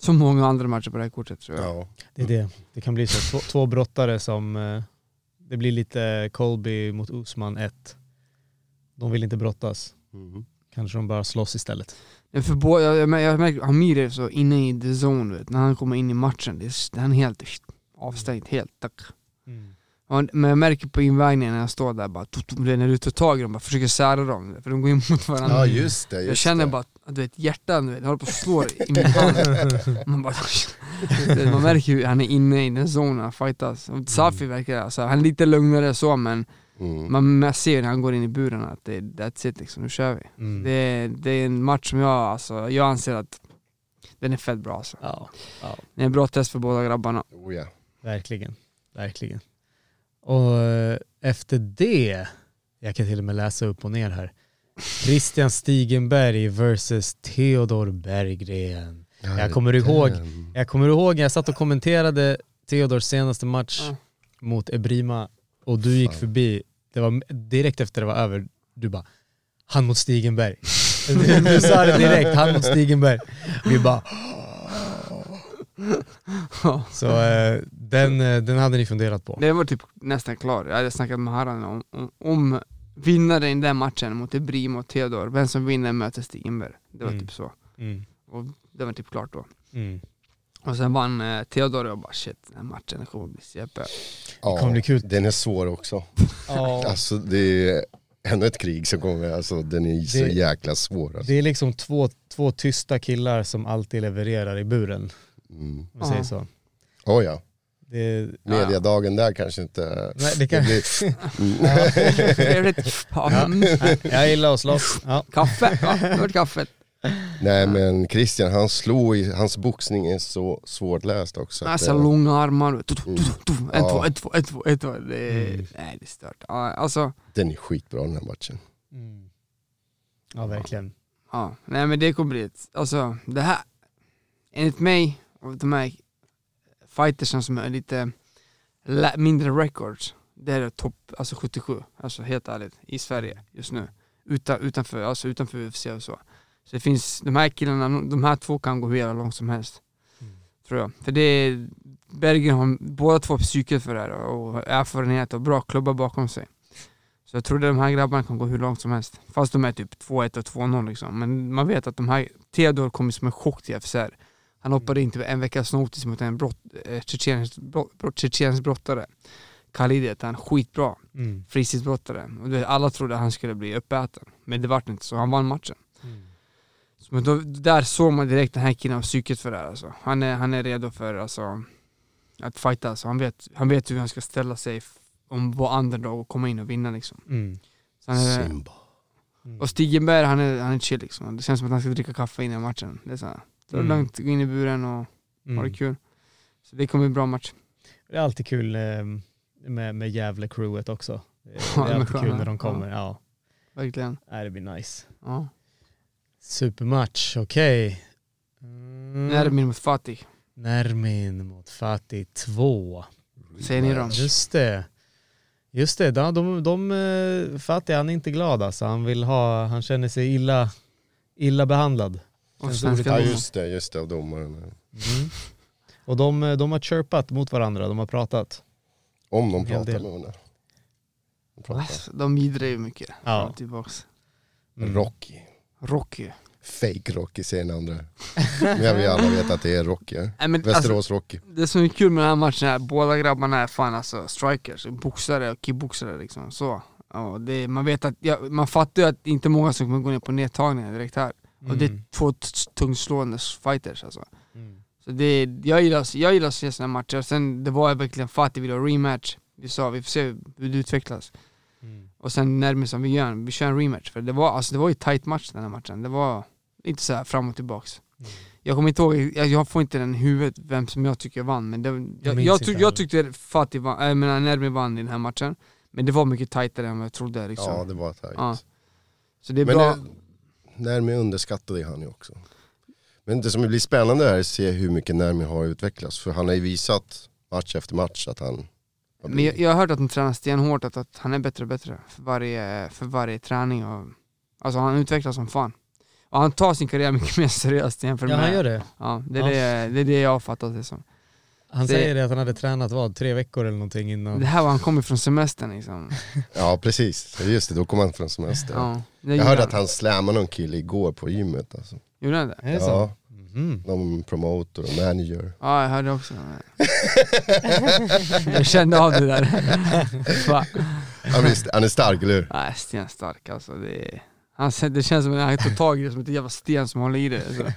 Speaker 6: Så många andra matcher på det här kortet tror jag.
Speaker 5: ja.
Speaker 4: Det är det. Det kan bli så. Två, två brottare som... eh, Det blir lite Colby mot Usman 1. De vill inte brottas.
Speaker 5: Mhm.
Speaker 4: Kanske de bara slåss istället.
Speaker 6: Men För båda, jag, jag, jag märker Amir är så inne i the zone vet. När han kommer in i matchen, det är, han är helt avstängd, helt tack. Ja, Men jag märker på invägningen när jag står där bara, tut, tut, när du tar tag i dem, bara försöker sära dem. För de går in mot varandra.
Speaker 5: ja just det. Just
Speaker 6: jag känner
Speaker 5: det.
Speaker 6: bara att du vet, hjärtan du vet, håller på att slå i min hand. Man, bara, man märker hur han är inne i den zonen, han fightas. Och Safi verkar, alltså, han är lite lugnare så men
Speaker 5: Mm.
Speaker 6: man, man ser när han går in i buren att det, that's it liksom, nu kör vi.
Speaker 4: Mm.
Speaker 5: Mm.
Speaker 6: Det, är- det är en match som jag, alltså, jag anser att den är fett bra alltså.
Speaker 4: Ja,
Speaker 6: Det är en bra test för båda grabbarna.
Speaker 5: Oh, ja.
Speaker 4: verkligen. Verkligen. Och eh, efter det, jag kan till och med läsa upp och ner här. Christian Stigenberg versus Theodor Berggren. Jag kommer ihåg, jag kommer ihåg när jag satt och kommenterade Theodors senaste match
Speaker 6: Ja.
Speaker 4: mot Ebrima och du gick
Speaker 5: Fan.
Speaker 4: förbi, det var direkt efter det var över, du bara han mot Stigenberg. Du, du sa det direkt, han mot Stigenberg. Vi bara
Speaker 6: Ja.
Speaker 4: Så eh, den, eh, den hade ni funderat på.
Speaker 6: Det var typ nästan klar. Jag hade snackat med Harran om, om, om vinnaren i den matchen mot Ebrim och Theodor. Vem som vinner möter Stigenberg. Det var
Speaker 4: Mm.
Speaker 6: typ så.
Speaker 4: Mm.
Speaker 6: Och det var typ klart då.
Speaker 4: Mm.
Speaker 6: Och sen vann eh, Theodor och jag bara shit, den här matchen kommer bli CP.
Speaker 5: Ja,
Speaker 4: kommer bli kul.
Speaker 5: Den är svår också. Alltså det är ännu ett krig som kommer, alltså den är så
Speaker 4: Det-
Speaker 5: jäkla svår. Alltså.
Speaker 4: Det är liksom två, två tysta killar som alltid levererar i buren.
Speaker 5: Mm.
Speaker 4: Om man säger
Speaker 6: Ja.
Speaker 4: så.
Speaker 5: Oh, ja.
Speaker 4: Det,
Speaker 5: Mediadagen där kanske inte...
Speaker 4: nej, det kan,
Speaker 5: blir-
Speaker 6: Ja. mm.
Speaker 4: nej, äh, jag gillar att slåss. Ja.
Speaker 6: Kaffe, ja, det var kaffet.
Speaker 5: Nej men Christian, han slog i, hans boxning är så svårläst också. att eh,
Speaker 6: Alltså
Speaker 5: det-
Speaker 6: långa armar. Tu, tu, tu, tu, tu. En,
Speaker 5: Ja.
Speaker 6: två, en, två, en, två, en, två. Det är,
Speaker 4: Mm.
Speaker 6: Nej, det är stört. Ja, Alltså,
Speaker 5: Den är skitbra den här matchen.
Speaker 4: Mm. ja, verkligen.
Speaker 6: ja. Nej men det kommer bli ett, alltså det här, enligt mig, av de här fightersen som är lite la- mindre records, det här är topp, alltså 77, alltså helt ärligt, i Sverige just nu. Utan, utanför, alltså utanför UFC och så. Så det finns, de här killarna, de här två kan gå hur jävla långt som helst. Tror jag. För det är, Bergen har båda två psyket för det här och erfarenhet och bra klubbar bakom sig. Så jag tror att de här grabbarna kan gå hur långt som helst. Fast de är typ 2-1 och 2-0 liksom. Men man vet att de här, Theodor kom ju som en chock till FCR. Han hoppade in till en veckas notis mot en brott, eh, tjetjensk brott, brott, tjetjensk brottare. Khalid heter han, skitbra.
Speaker 4: Mm.
Speaker 6: Frisidbrottare. Och du vet, alla trodde att han skulle bli uppäten. Men det vart inte så, han vann matchen.
Speaker 4: Mm.
Speaker 6: Så, men då, där såg man direkt den här killen har psyket för det här alltså. Han är, han är redo för alltså, att fighta alltså. han, vet, han vet hur han ska ställa sig f- om var underdog och komma in och vinna liksom.
Speaker 4: Mm.
Speaker 6: Så han är,
Speaker 5: Simba.
Speaker 6: och Stigenberg han är, han är chill liksom. Det känns som att han ska dricka kaffe innan matchen. Det är så här, ta det
Speaker 4: Mm.
Speaker 6: lugnt, gå in i buren och ha
Speaker 4: Mm.
Speaker 6: det kul. Så det kommer bli en bra match.
Speaker 4: Det är ehm, alltid kul eh, med, med Gävle-crewet också. Det är, det är
Speaker 6: Ja, de är
Speaker 4: alltid kul
Speaker 6: sköna.
Speaker 4: när de kommer. Ja.
Speaker 6: verkligen.
Speaker 4: Nej, det blir nice.
Speaker 6: Ja.
Speaker 4: Supermatch, okej. Mm.
Speaker 6: Nermin mot Fatih.
Speaker 4: Nermin mot Fatih 2.
Speaker 6: Säger ni dem?
Speaker 4: Just det. Just det, de, de, de, eh, Fatih han är inte glad alltså. Han vill ha, han känner sig illa, illa behandlad.
Speaker 6: Och
Speaker 4: Känns
Speaker 6: svenska
Speaker 5: Ja
Speaker 6: domaren.
Speaker 5: just det, just det, av domaren.
Speaker 4: Mm. Och de, eh, de har chirpat mot varandra, de har pratat.
Speaker 5: Om de
Speaker 4: En hel
Speaker 5: pratar
Speaker 4: del.
Speaker 5: med varandra. De pratar.
Speaker 6: Alltså, De jiddrar ju mycket.
Speaker 4: Ja.
Speaker 6: Fram och Tillbaks.
Speaker 4: Mm.
Speaker 5: Rocky.
Speaker 6: Rocky.
Speaker 5: Fake Rocky säger den andra. Men jag vill alla vet att det är Rocky. ja.
Speaker 6: Nej, men, alltså,
Speaker 5: Västerås Rocky.
Speaker 6: det som är kul med den här matchen är att båda grabbarna är fan alltså strikers, boxare och kickboxare liksom. Så. Ja, det, är- man, vet att, ja, man fattar ju att det inte är många som kommer gå ner på nedtagningar direkt här. Och det är
Speaker 4: Mm.
Speaker 6: två t- tungslående fighters alltså.
Speaker 4: Mm.
Speaker 6: Så det, jag gillar, jag gillar att se sådana matcher. Sen det var verkligen Fatih ville ha rematch. Vi sa vi får se hur det utvecklas.
Speaker 4: Mm.
Speaker 6: Och sen närmast som vi gör, vi kör en rematch. För det var, alltså, det var ju tight match den här matchen. Det var inte så här fram och tillbaks.
Speaker 4: Mm.
Speaker 6: Jag kommer inte ihåg, jag, jag får inte den i huvudet vem som jag tycker vann. Men det, jag, jag,
Speaker 4: minns
Speaker 6: jag,
Speaker 4: inte
Speaker 6: tyck-
Speaker 4: heller.
Speaker 6: jag tyckte Fatih vann, äh, jag menar Nermi vann i den här matchen. Men det var mycket tajtare än vad jag trodde liksom.
Speaker 5: Ja det var tajt.
Speaker 6: Ja. Så det är
Speaker 5: Men
Speaker 6: bra.
Speaker 5: det, Närmi underskattade han ju också. Men det som blir spännande här är att se hur mycket Närmi har utvecklats. För han har ju visat match efter match att han... har
Speaker 6: Men
Speaker 5: blivit-
Speaker 6: jag, jag har hört att han tränar stenhårt, att, att han är bättre och bättre för varje, för varje träning. Och, alltså han utvecklas som fan. Och han tar sin karriär mycket mer seriöst jämfört
Speaker 4: Ja,
Speaker 6: med...
Speaker 4: han gör det.
Speaker 6: Ja, det, är
Speaker 4: Ja.
Speaker 6: Det, det är det jag har fattat liksom. det som.
Speaker 4: Han
Speaker 6: Det-
Speaker 4: säger det att han hade tränat vad, tre veckor eller någonting innan.
Speaker 6: Det här var han kom ifrån semestern liksom.
Speaker 5: Ja precis, just det då kom han från semester.
Speaker 6: Ja, det
Speaker 5: Jag
Speaker 6: gjorde
Speaker 5: hörde att han slammade någon kille igår på gymmet. Alltså.
Speaker 6: Gjorde han det?
Speaker 4: Är det så?
Speaker 5: Ja,
Speaker 4: Mhm.
Speaker 5: någon promotor och manager.
Speaker 6: Ja, jag hörde också. jag kände av det där. Fan.
Speaker 5: Han, visst, han är stark eller hur?
Speaker 6: Nej, Sten stark alltså. Det, är- han, det känns som att han tog tag i det som ett jävla sten som håller i det. Alltså.
Speaker 4: Oj,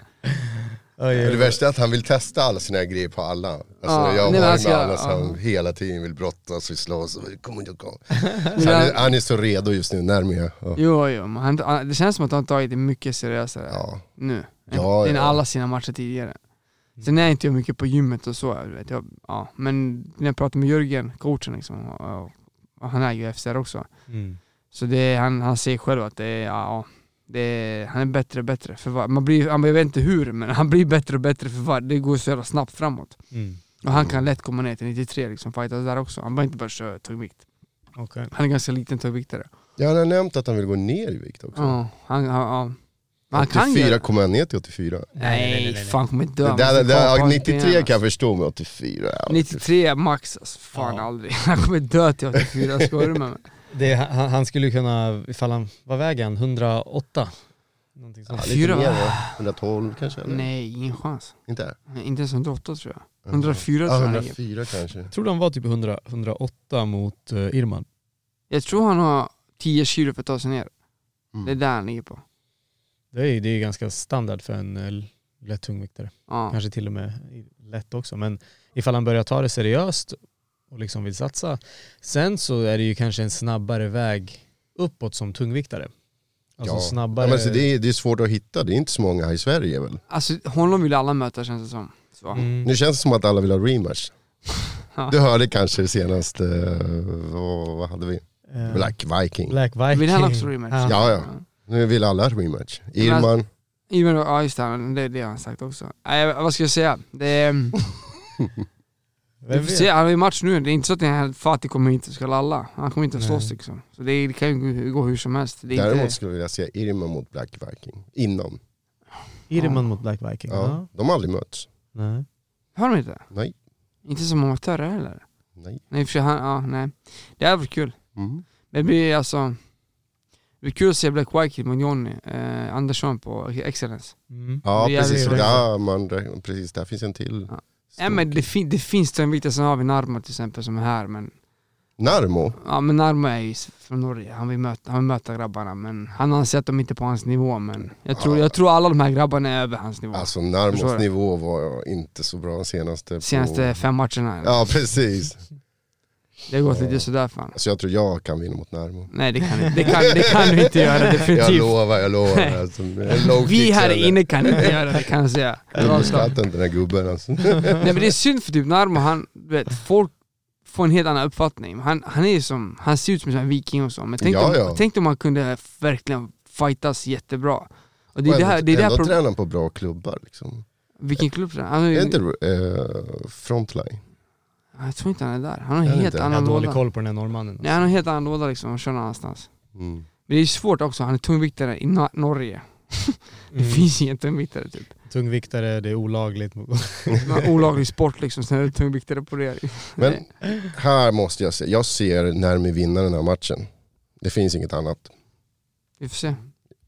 Speaker 4: oj,
Speaker 5: Men
Speaker 4: oj.
Speaker 5: det värsta är att han vill testa alla sina grejer på alla. Alltså,
Speaker 6: Ja,
Speaker 5: jag
Speaker 6: nej, men
Speaker 5: har
Speaker 6: han
Speaker 5: ju
Speaker 6: ska-
Speaker 5: med alla som
Speaker 6: ja.
Speaker 5: hela tiden vill brottas och slåss. och Kom, kom, kom.
Speaker 6: Det
Speaker 5: Så han, är,
Speaker 6: där-
Speaker 5: han är så redo just nu, närmare. Ja.
Speaker 6: Jo, jo, men han, han, det känns som att han tagit det mycket seriösare
Speaker 5: Alltså. Ja.
Speaker 6: nu
Speaker 5: Ja,
Speaker 6: än, än
Speaker 5: ja. Mm.
Speaker 6: alla sina matcher tidigare. Sen är inte jag mycket på gymmet och så, jag vet, jag, ja. men när jag pratar med Jörgen, coachen liksom, och, och, och han är ju FCR också,
Speaker 4: Mm.
Speaker 6: så det, är- han, han säger själv att det är, ja, ja, det är, han är bättre och bättre. För var, man blir, han, jag vet inte hur, men han blir bättre och bättre för var, det går så jävla snabbt framåt.
Speaker 4: Mm.
Speaker 6: Och han kan lätt komma ner till 93 liksom, fightas där också. Han behöver inte bara köra tungvikt.
Speaker 4: Okej.
Speaker 6: Han är ganska liten tungviktare.
Speaker 5: Ja, han har nämnt att han vill gå ner i vikt också.
Speaker 6: Ja, han, han, ja. Men han kan
Speaker 5: 84
Speaker 6: göra-
Speaker 5: kommer han ner till 84.
Speaker 6: Nej,
Speaker 4: Nej, nej, nej, nej.
Speaker 6: fan kommer dö.
Speaker 5: Det
Speaker 6: Man
Speaker 5: där,
Speaker 6: får
Speaker 5: det
Speaker 6: kapa
Speaker 5: där,
Speaker 6: hans
Speaker 5: 93
Speaker 6: ben,
Speaker 5: kan
Speaker 6: alltså.
Speaker 5: jag förstå med 84. ja.
Speaker 6: 93 max alltså, fan
Speaker 4: Ja.
Speaker 6: aldrig. Han kommer dö till 84, skojar du med mig?
Speaker 4: Det, han, han skulle ju kunna, ifall han, vad väger han? 108? Någonting
Speaker 5: Ja,
Speaker 4: sånt.
Speaker 5: lite
Speaker 6: Fyra,
Speaker 5: mer,
Speaker 6: va?
Speaker 5: va? 112 kanske? Eller?
Speaker 6: Nej, ingen chans.
Speaker 5: Inte?
Speaker 6: Inte ens 108 tror jag. 104
Speaker 5: Ja,
Speaker 6: tror jag han ligger.
Speaker 5: 104 kanske.
Speaker 4: Jag tror de var typ 100, 108 mot eh, Irman.
Speaker 6: Jag tror han har 10 kilo för att ta sig ner.
Speaker 5: Mm.
Speaker 6: Det är där han ligger på.
Speaker 4: Det är ju det är ju ganska standard för en eh, lätt tungviktare.
Speaker 6: Ja.
Speaker 4: Kanske till och med lätt också. Men ifall han börjar ta det seriöst och liksom vill satsa. Sen så är det ju kanske en snabbare väg uppåt som tungviktare. Alltså
Speaker 5: Ja.
Speaker 4: snabbare.
Speaker 5: Ja, men alltså, det, är, det är svårt att hitta, det är inte så många här i Sverige väl?
Speaker 6: Alltså honom vill alla möta känns det som. Så.
Speaker 4: Mm.
Speaker 5: Nu känns det som att alla vill ha rematch.
Speaker 6: Ja.
Speaker 5: Du hörde kanske senast, eh, vad, vad hade vi?
Speaker 4: Eh,
Speaker 5: Black Viking.
Speaker 4: Black Viking.
Speaker 6: Vill han också rematch?
Speaker 4: Ja.
Speaker 5: Ja, ja. Nu vill alla ha rematch.
Speaker 6: alltså,
Speaker 5: Irman,
Speaker 6: Ja, men- ja just det, han- det är det han sagt också. Nej, vad ska jag säga? Det är... Vi
Speaker 4: Vem
Speaker 6: får
Speaker 4: vet?
Speaker 6: se, han har ju match nu. Det är inte så att den här Fatih kommer hit och ska lalla. Han kommer inte att slåss
Speaker 4: Nej.
Speaker 6: liksom. Så det, det kan ju gå hur som helst. Det är
Speaker 5: däremot
Speaker 6: inte,
Speaker 5: skulle jag vilja se Irman mot Black Viking. Inom.
Speaker 4: Irman mot Black Viking. Ja.
Speaker 5: Ja. De har aldrig mötts.
Speaker 4: Nej.
Speaker 6: har de inte?
Speaker 5: Nej.
Speaker 6: Inte som amatörer heller.
Speaker 5: Nej.
Speaker 6: Nej, för sig, han, ja, nej. Det hade varit kul.
Speaker 5: Mm.
Speaker 6: Men det blir alltså... Det blir kul att se Black Viking mot Johnny eh, Andersson på Excellence.
Speaker 4: Mm.
Speaker 5: Ja,
Speaker 6: Det är
Speaker 5: precis.
Speaker 6: jävligt
Speaker 5: Ja, man, precis. Där finns en till.
Speaker 6: Ja.
Speaker 5: stor-
Speaker 6: Nej men det, fin- det finns tungviktare, sen har vi Narmo till exempel som är här men...
Speaker 5: Narmo?
Speaker 6: Ja men Narmo är ju s- från Norge, han vill möta, han vill möta grabbarna men han anser att de inte är på hans nivå men... Jag tror,
Speaker 5: Ja.
Speaker 6: jag tror alla de här grabbarna är över hans nivå.
Speaker 5: Alltså
Speaker 6: Förstår
Speaker 5: Narmos
Speaker 6: du?
Speaker 5: nivå var inte så bra senaste. på-
Speaker 6: Senaste fem matcherna.
Speaker 5: Ja, precis.
Speaker 6: Det har gått lite sådär fan.
Speaker 5: Alltså jag tror jag kan vinna mot Narmo.
Speaker 6: Nej det kan, du- det kan, det kan du inte göra
Speaker 5: Jag
Speaker 6: definitivt.
Speaker 5: lovar, jag lovar. Alltså, en low
Speaker 6: Vi
Speaker 5: kick
Speaker 6: här
Speaker 5: eller-
Speaker 6: inne kan inte göra det kan jag säga. Rakt av.
Speaker 5: Underskatta inte den här gubben alltså.
Speaker 6: Nej men det är synd för typ Narmo, han, du vet, folk, får en helt annan uppfattning. Han, han är ju som, han ser ut som en viking och så, men tänk,
Speaker 5: Ja,
Speaker 6: om,
Speaker 5: ja.
Speaker 6: tänk om han kunde verkligen fightas jättebra. Och det
Speaker 5: Och
Speaker 6: är det här, det är det här
Speaker 5: ändå
Speaker 6: pro-
Speaker 5: tränar han på bra klubbar liksom.
Speaker 6: Vilken klubb tränar han? Han är-
Speaker 5: Är inte eh, frontline?
Speaker 6: Jag tror inte han är där. Han har
Speaker 5: Är
Speaker 6: en
Speaker 5: han
Speaker 6: helt
Speaker 5: inte? Jag
Speaker 4: Jag har
Speaker 6: annan
Speaker 4: dålig
Speaker 6: låda.
Speaker 4: koll på den här norrmannen.
Speaker 6: Nej, han har en helt annan låda liksom, han kör någon annanstans.
Speaker 5: Mm.
Speaker 6: Men det är svårt också, han är tungviktare i Nor- Norge. Det
Speaker 4: Mm.
Speaker 6: finns ingen tungviktare typ.
Speaker 4: Tungviktare, det är olagligt.
Speaker 5: Mm.
Speaker 6: Någon olaglig sport liksom, sen är det tungviktare på det.
Speaker 5: Men här måste jag säga, jag ser Närmi vinna den här matchen. Det finns inget annat.
Speaker 6: Vi får se.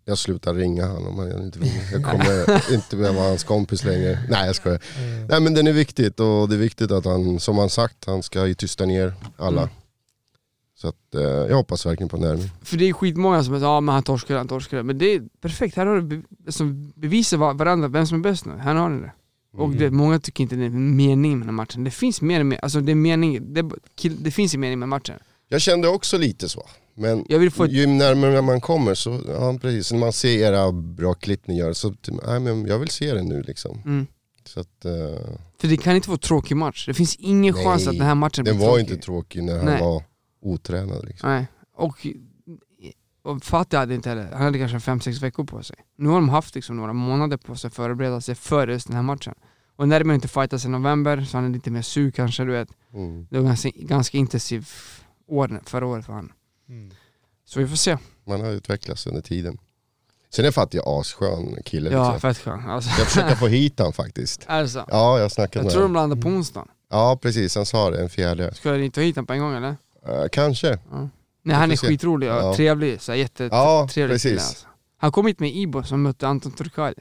Speaker 5: Jag slutar ringa han om han inte vinner. Jag kommer inte behöva vara hans kompis längre. Nej jag skojar.
Speaker 6: Mm.
Speaker 5: Nej men den är viktigt och det är viktigt att han, som han sagt, han ska ju tysta ner alla.
Speaker 6: Mm.
Speaker 5: Så att, eh, jag hoppas verkligen på Närmi.
Speaker 6: För det är skitmånga som säger ja men han torskade, han torskade. Men det är perfekt, här har du be- som bevisar var- varandra vem som är bäst nu. Här har ni det. Och
Speaker 5: Mm.
Speaker 6: det, många tycker inte det är mening med den här matchen. Det finns mer än mer, alltså det är mening, det, är bara- kill- det finns en mening med matchen.
Speaker 5: Jag kände också lite så. Men
Speaker 6: Jag vill få ett,
Speaker 5: ju närmare man kommer så, ja precis, när man ser era bra klipp ni gör så, typ, nej men jag vill se det nu liksom.
Speaker 6: mm.
Speaker 5: Så att, eh,
Speaker 6: För det kan inte vara en tråkig match. Det finns ingen
Speaker 5: Nej,
Speaker 6: chans att den här matchen
Speaker 5: den
Speaker 6: blir
Speaker 5: var
Speaker 6: tråkig.
Speaker 5: inte tråkig när han
Speaker 6: Nej.
Speaker 5: var otränad liksom.
Speaker 6: Nej, och, och Fatih hade inte heller, han hade kanske fem sex veckor på sig. Nu har de haft liksom några månader på sig att förbereda sig för just den här matchen. Och när de inte fightas i november så han är lite mer sur kanske, du vet.
Speaker 5: Mm.
Speaker 6: Det var ganska, ganska intensiv år förra året för han. Så vi får se.
Speaker 5: Man har utvecklats under tiden. Sen är Fatih asskön kille
Speaker 6: Ja,
Speaker 5: liksom.
Speaker 6: fett skönt. Alltså.
Speaker 5: Jag försöker få hit han faktiskt.
Speaker 6: alltså.
Speaker 5: Ja, jag har snackat
Speaker 6: Jag
Speaker 5: med
Speaker 6: tror de
Speaker 5: honom.
Speaker 6: landar på onsdagen.
Speaker 5: Ja, precis. Han sa det, en fjärde.
Speaker 6: Ska jag inte ta hit honom på en gång eller?
Speaker 5: Eh, kanske.
Speaker 6: Nej han
Speaker 5: får
Speaker 6: är
Speaker 5: se.
Speaker 6: skitrolig och
Speaker 5: Ja.
Speaker 6: trevlig, så här,
Speaker 5: Ja,
Speaker 6: jättetrevlig kille
Speaker 5: precis.
Speaker 6: alltså. Han kom hit med Ibo som mötte Anton Turkali.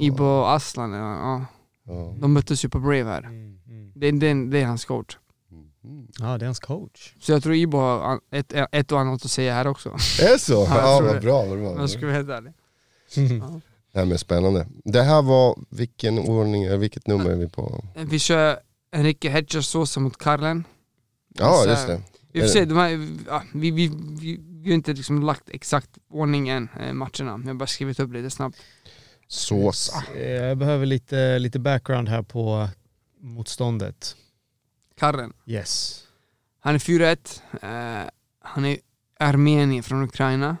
Speaker 6: Ibo och Aslan, ja, ja.
Speaker 5: Ah. Ja.
Speaker 6: De möttes ju på Brave här. Det, är- det, är- det är hans coach.
Speaker 4: Mm.
Speaker 5: Mm.
Speaker 4: Ja, det är hans coach.
Speaker 6: Så jag tror Ibo har an- ett, ett och annat att säga här också.
Speaker 5: Är det så?
Speaker 6: jag
Speaker 5: Ja,
Speaker 6: tror
Speaker 5: vad
Speaker 6: det.
Speaker 5: bra. Vad bra.
Speaker 6: Om jag ska vara helt ärlig. Ja.
Speaker 5: Nej, men spännande. Det här var, vilken ordning, eh, vilket nummer är vi på?
Speaker 6: Vi kör Enrique Hedgesåsa mot Karlen.
Speaker 5: Ja,
Speaker 6: Så-
Speaker 5: just det.
Speaker 6: Vi får
Speaker 4: Eh.
Speaker 6: se, de här, ja, vi, vi, vi, vi har inte liksom lagt exakt ordning än, eh, matcherna. Jag har bara skrivit upp lite snabbt.
Speaker 5: Såsa.
Speaker 4: Eh, Jag behöver lite, lite background här på motståndet.
Speaker 6: Karlen,
Speaker 4: Yes.
Speaker 6: han är 4-1. Eh, han är armenier från Ukraina.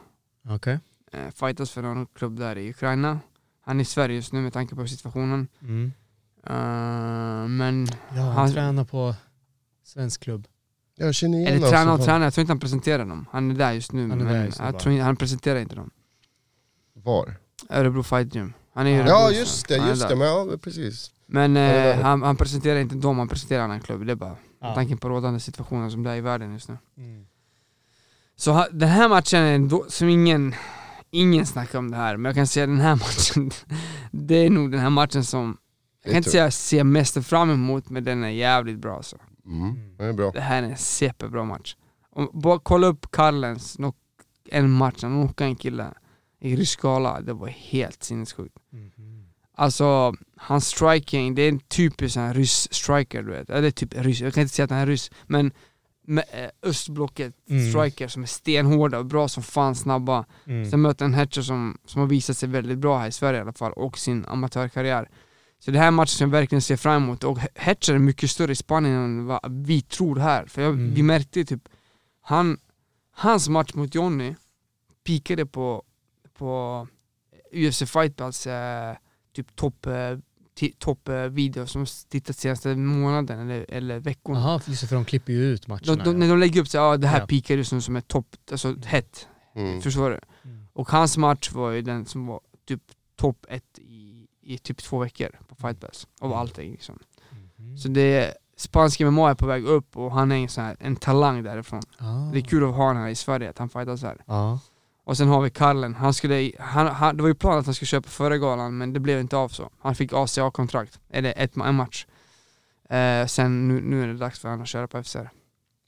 Speaker 4: Okej.
Speaker 6: Eh, fightas för någon klubb där i Ukraina. Han är i Sverige just nu med tanke på situationen.
Speaker 4: Mm.
Speaker 6: Eh, men
Speaker 4: Ja, han,
Speaker 6: Han-
Speaker 4: tränar på svensk klubb.
Speaker 5: Jag känner igen alltså.
Speaker 6: Eller
Speaker 5: honom
Speaker 6: tränare
Speaker 5: som
Speaker 6: och
Speaker 5: fan.
Speaker 6: tränare, jag tror inte han presenterar dem. Han är där just nu,
Speaker 4: Han är
Speaker 6: men
Speaker 4: där just nu
Speaker 6: jag
Speaker 4: bara.
Speaker 6: tror inte, han presenterar inte dem.
Speaker 5: Var?
Speaker 6: Örebro Fight Gym. Han är i Örebro,
Speaker 5: Ja,
Speaker 6: så
Speaker 5: just det.
Speaker 6: han är
Speaker 5: Just
Speaker 6: där.
Speaker 5: det. Men, ja, precis.
Speaker 6: Men
Speaker 5: är
Speaker 6: eh,
Speaker 5: där.
Speaker 6: han, han presenterar inte dem, han presenterar en annan klubb. Det är bara med
Speaker 4: Ja.
Speaker 6: tanken på rådande situationen som det är i världen just nu.
Speaker 4: Mm.
Speaker 6: Så ha, den här matchen är då, som ingen, ingen snackar om det här, men jag kan säga den här matchen, det är nog den här matchen som, jag
Speaker 5: Det är
Speaker 6: kan inte säga jag ser mest fram emot, men den är jävligt bra alltså.
Speaker 5: Mm. Det är bra.
Speaker 6: Det här är en superbra match. Om, bara kolla upp Karlens, knock, en match, han knockade en kille i rysk skala, det var helt sinnessjukt.
Speaker 4: Mm.
Speaker 6: Alltså, hans striking, det är en typisk sån här ryss striker du vet. Eller typ ryss, jag kan inte säga att han är ryss, men med, eh, östblocket
Speaker 4: Mm.
Speaker 6: striker som är stenhårda och bra som fan snabba.
Speaker 4: Mm.
Speaker 6: Sen möter han Hatcher som, som har visat sig väldigt bra här i Sverige i alla fall och sin amatörkarriär. Så det här är en match som jag verkligen ser fram emot och Hatcher är mycket större i Spanien än vad vi tror här. För jag,
Speaker 4: Mm.
Speaker 6: vi märkte ju typ, han, hans match mot Johnny pikade på, på UFC Fight Pass eh, typ topp eh, ti- topp eh, video som tittat senaste månaden eller, eller veckorna.
Speaker 4: Jaha, just det, för de klipper ju ut matcherna.
Speaker 6: De, de, när de lägger upp så ja ah, det här
Speaker 4: Ja.
Speaker 6: pikar just nu som ett topp, alltså hett,
Speaker 5: Mm.
Speaker 6: förstår du?
Speaker 4: Mm.
Speaker 6: Och hans match var ju den som var typ topp ett i, i typ två veckor på Fight Pass, av
Speaker 4: Mm.
Speaker 6: allting liksom.
Speaker 4: Mhm.
Speaker 6: Så det, spanska MMA är på väg upp och han är en sån här, en talang därifrån.
Speaker 4: Ah.
Speaker 6: Det är kul att ha honom här i Sverige, att han fightas här.
Speaker 4: Ja.
Speaker 6: Och sen har vi Karlen, han skulle, han, han, det var ju planen att han skulle köpa förra galan men det blev inte av så. Han fick ACA-kontrakt, eller ett, ma- en match. Eh, sen nu, nu är det dags för honom att köra på FCR.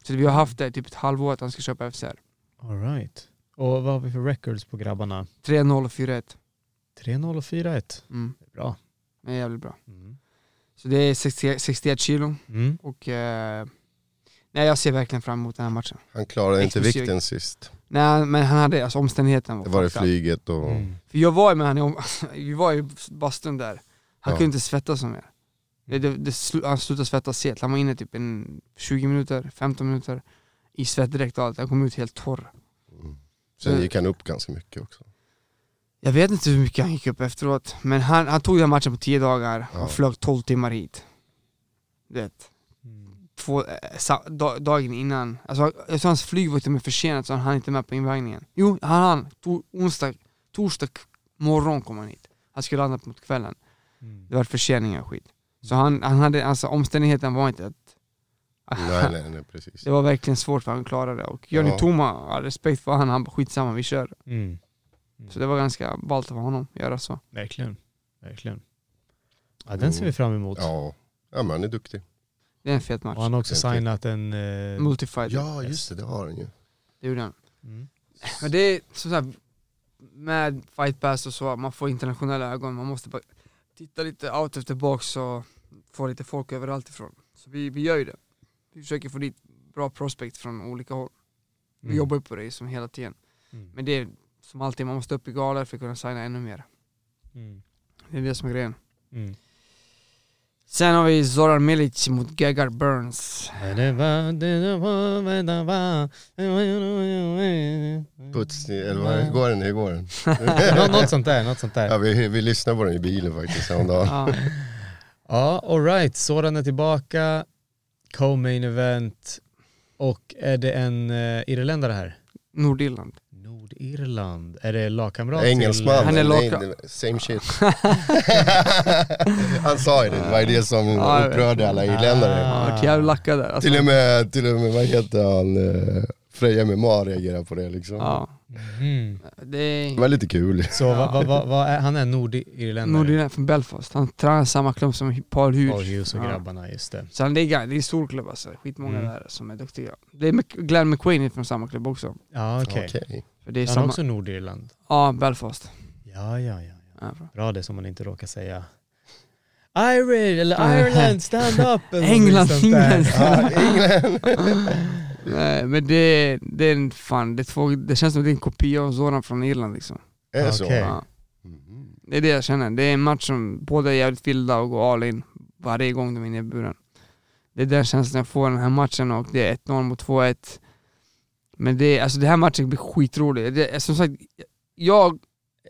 Speaker 6: Så vi har haft det i typ ett halvår att han ska köpa FCR.
Speaker 4: All right. Och vad har vi för records på grabbarna?
Speaker 6: 3-0 och 4-1.
Speaker 4: 3-0 och 4-1.
Speaker 6: Mm,
Speaker 4: Det är Bra.
Speaker 6: det är jävligt bra.
Speaker 4: Mm.
Speaker 6: Så det är 60, 61 kilo
Speaker 4: Mm.
Speaker 6: och... Eh, nej jag ser verkligen fram emot den här matchen.
Speaker 5: Han klarade inte
Speaker 6: Explosiv.
Speaker 5: vikten sist.
Speaker 6: Nej men han hade, alltså omständigheten var
Speaker 5: Det var det
Speaker 6: fucked up.
Speaker 5: flyget och...
Speaker 4: Mm.
Speaker 6: alltså, För jag var ju med han i om- vi var ju i bastun där. Han
Speaker 5: Ja. Mm.
Speaker 6: kunde inte svettas som mer. Det, det, det, slu- han slutade svettas helt. Han var inne typ en 20 minuter, 15 minuter i svettdräkt och allt. Han kom ut helt torr.
Speaker 5: Sen gick han upp ganska mycket också.
Speaker 6: Jag vet inte hur mycket han gick upp efteråt, men han, han tog den matchen på 10 dagar och
Speaker 5: Ja.
Speaker 6: flög 12 timmar hit. Du vet,
Speaker 4: Mm.
Speaker 6: två, eh, sa, da, dagen innan. Alltså, jag tror hans flyg var till och med försenat så han hann inte med på invägningen. Jo, han hann. To, onsdag, torsdag k- morgon kom han hit. Han skulle landa mot kvällen.
Speaker 4: Mm.
Speaker 6: Det var förseningar och skit. Så han, han hade, alltså omständigheten var inte att...
Speaker 5: Nej nej nej precis.
Speaker 6: Det var verkligen svårt för han att klara det. Och Johnny
Speaker 5: Ja.
Speaker 6: Toma, ja, respekt för han, han bara skitsamma, vi kör.
Speaker 4: Mm.
Speaker 6: Så det var ganska ballt av honom att göra så.
Speaker 4: Verkligen. Verkligen. Oh. Ja, den ser vi fram emot.
Speaker 5: Ja, ja men han är duktig.
Speaker 6: Det är en fet match.
Speaker 4: Och han har också
Speaker 5: Verkligen.
Speaker 4: signat en... Eh,
Speaker 6: Multifighter,
Speaker 5: Ja just det, det har han ju.
Speaker 6: det gjorde han.
Speaker 4: mm.
Speaker 6: Men det är som sagt, med fight pass och så, man får internationella ögon, man måste bara titta lite out efter box och få lite folk överallt ifrån. Så vi, vi gör ju det. Vi försöker få dit bra prospect från olika håll. Vi
Speaker 4: Mm.
Speaker 6: jobbar ju på det som hela tiden.
Speaker 4: Mm.
Speaker 6: Men det är som alltid, man måste upp i galor för att kunna signa ännu mer.
Speaker 4: Mm.
Speaker 6: Det är det som är grejen.
Speaker 4: Mm.
Speaker 6: Sen har vi Zoran Milic mot Gegard Burns.
Speaker 5: Puts, eller vad, hur går den? Hur går den?
Speaker 4: Nå- något sånt där, något sånt
Speaker 5: Ja,
Speaker 4: där.
Speaker 5: vi, vi lyssnade på den i bilen faktiskt häromdagen.
Speaker 6: Ja,
Speaker 4: Ja, alright, Soran är tillbaka, co-main event och är det en eh, irländare här?
Speaker 6: Nordirland.
Speaker 4: Nordirland, är det lagkamrat
Speaker 5: Engelsman,
Speaker 6: Han
Speaker 5: nej,
Speaker 6: är laka-
Speaker 5: det- same shit. han sa ju det, det var ju det som
Speaker 6: Ja, jag vet.
Speaker 5: upprörde alla irländare.
Speaker 6: Han
Speaker 4: Ah.
Speaker 6: har varit jävligt lackad där. Alltså,
Speaker 5: Till och med, till och med vad heter han, eh, Freja MMA reagerade på det liksom.
Speaker 6: ja,
Speaker 4: till... Mm.
Speaker 6: det är...
Speaker 5: Det var lite kul.
Speaker 4: Så vad vad- vad- vad är, han är nordirländare?
Speaker 6: Nordirland från Belfast. Han tränar samma klubb som Paul Hughes.
Speaker 4: Paul Hughes och
Speaker 6: Ja.
Speaker 4: grabbarna, just det.
Speaker 6: Så han ligger, det är en stor klubb alltså. Skitmånga
Speaker 4: Mm.
Speaker 6: där som är duktiga. Det är Mc- Glenn McQueen är från samma klubb också.
Speaker 4: Ja, okej.
Speaker 5: Okej.
Speaker 6: För det är
Speaker 4: Han är
Speaker 6: samma...
Speaker 4: också Nordirland.
Speaker 6: Ja, Belfast.
Speaker 4: Ja, ja, ja. ja.
Speaker 6: Ja, bra.
Speaker 4: Bra det som man inte råkar säga. Irish, eller Ireland, stand up! eller något
Speaker 6: Ah. England,
Speaker 4: sånt där.
Speaker 6: England.
Speaker 5: Ja, England.
Speaker 6: Nej, men det, det är en fan, det, är två, det känns som det är en kopia av Zoran från Irland liksom.
Speaker 5: Är det så?
Speaker 4: Okej.
Speaker 6: Ja.
Speaker 5: Mhm.
Speaker 6: Det är det jag känner. Det är en match som båda är jävligt vilda och går all in varje gång de är inne i buren. Det är den känslan jag får i den här matchen och det är 1-0 mot 2-1. Men det är, alltså den här matchen blir skitrolig. Det är, som sagt, jag,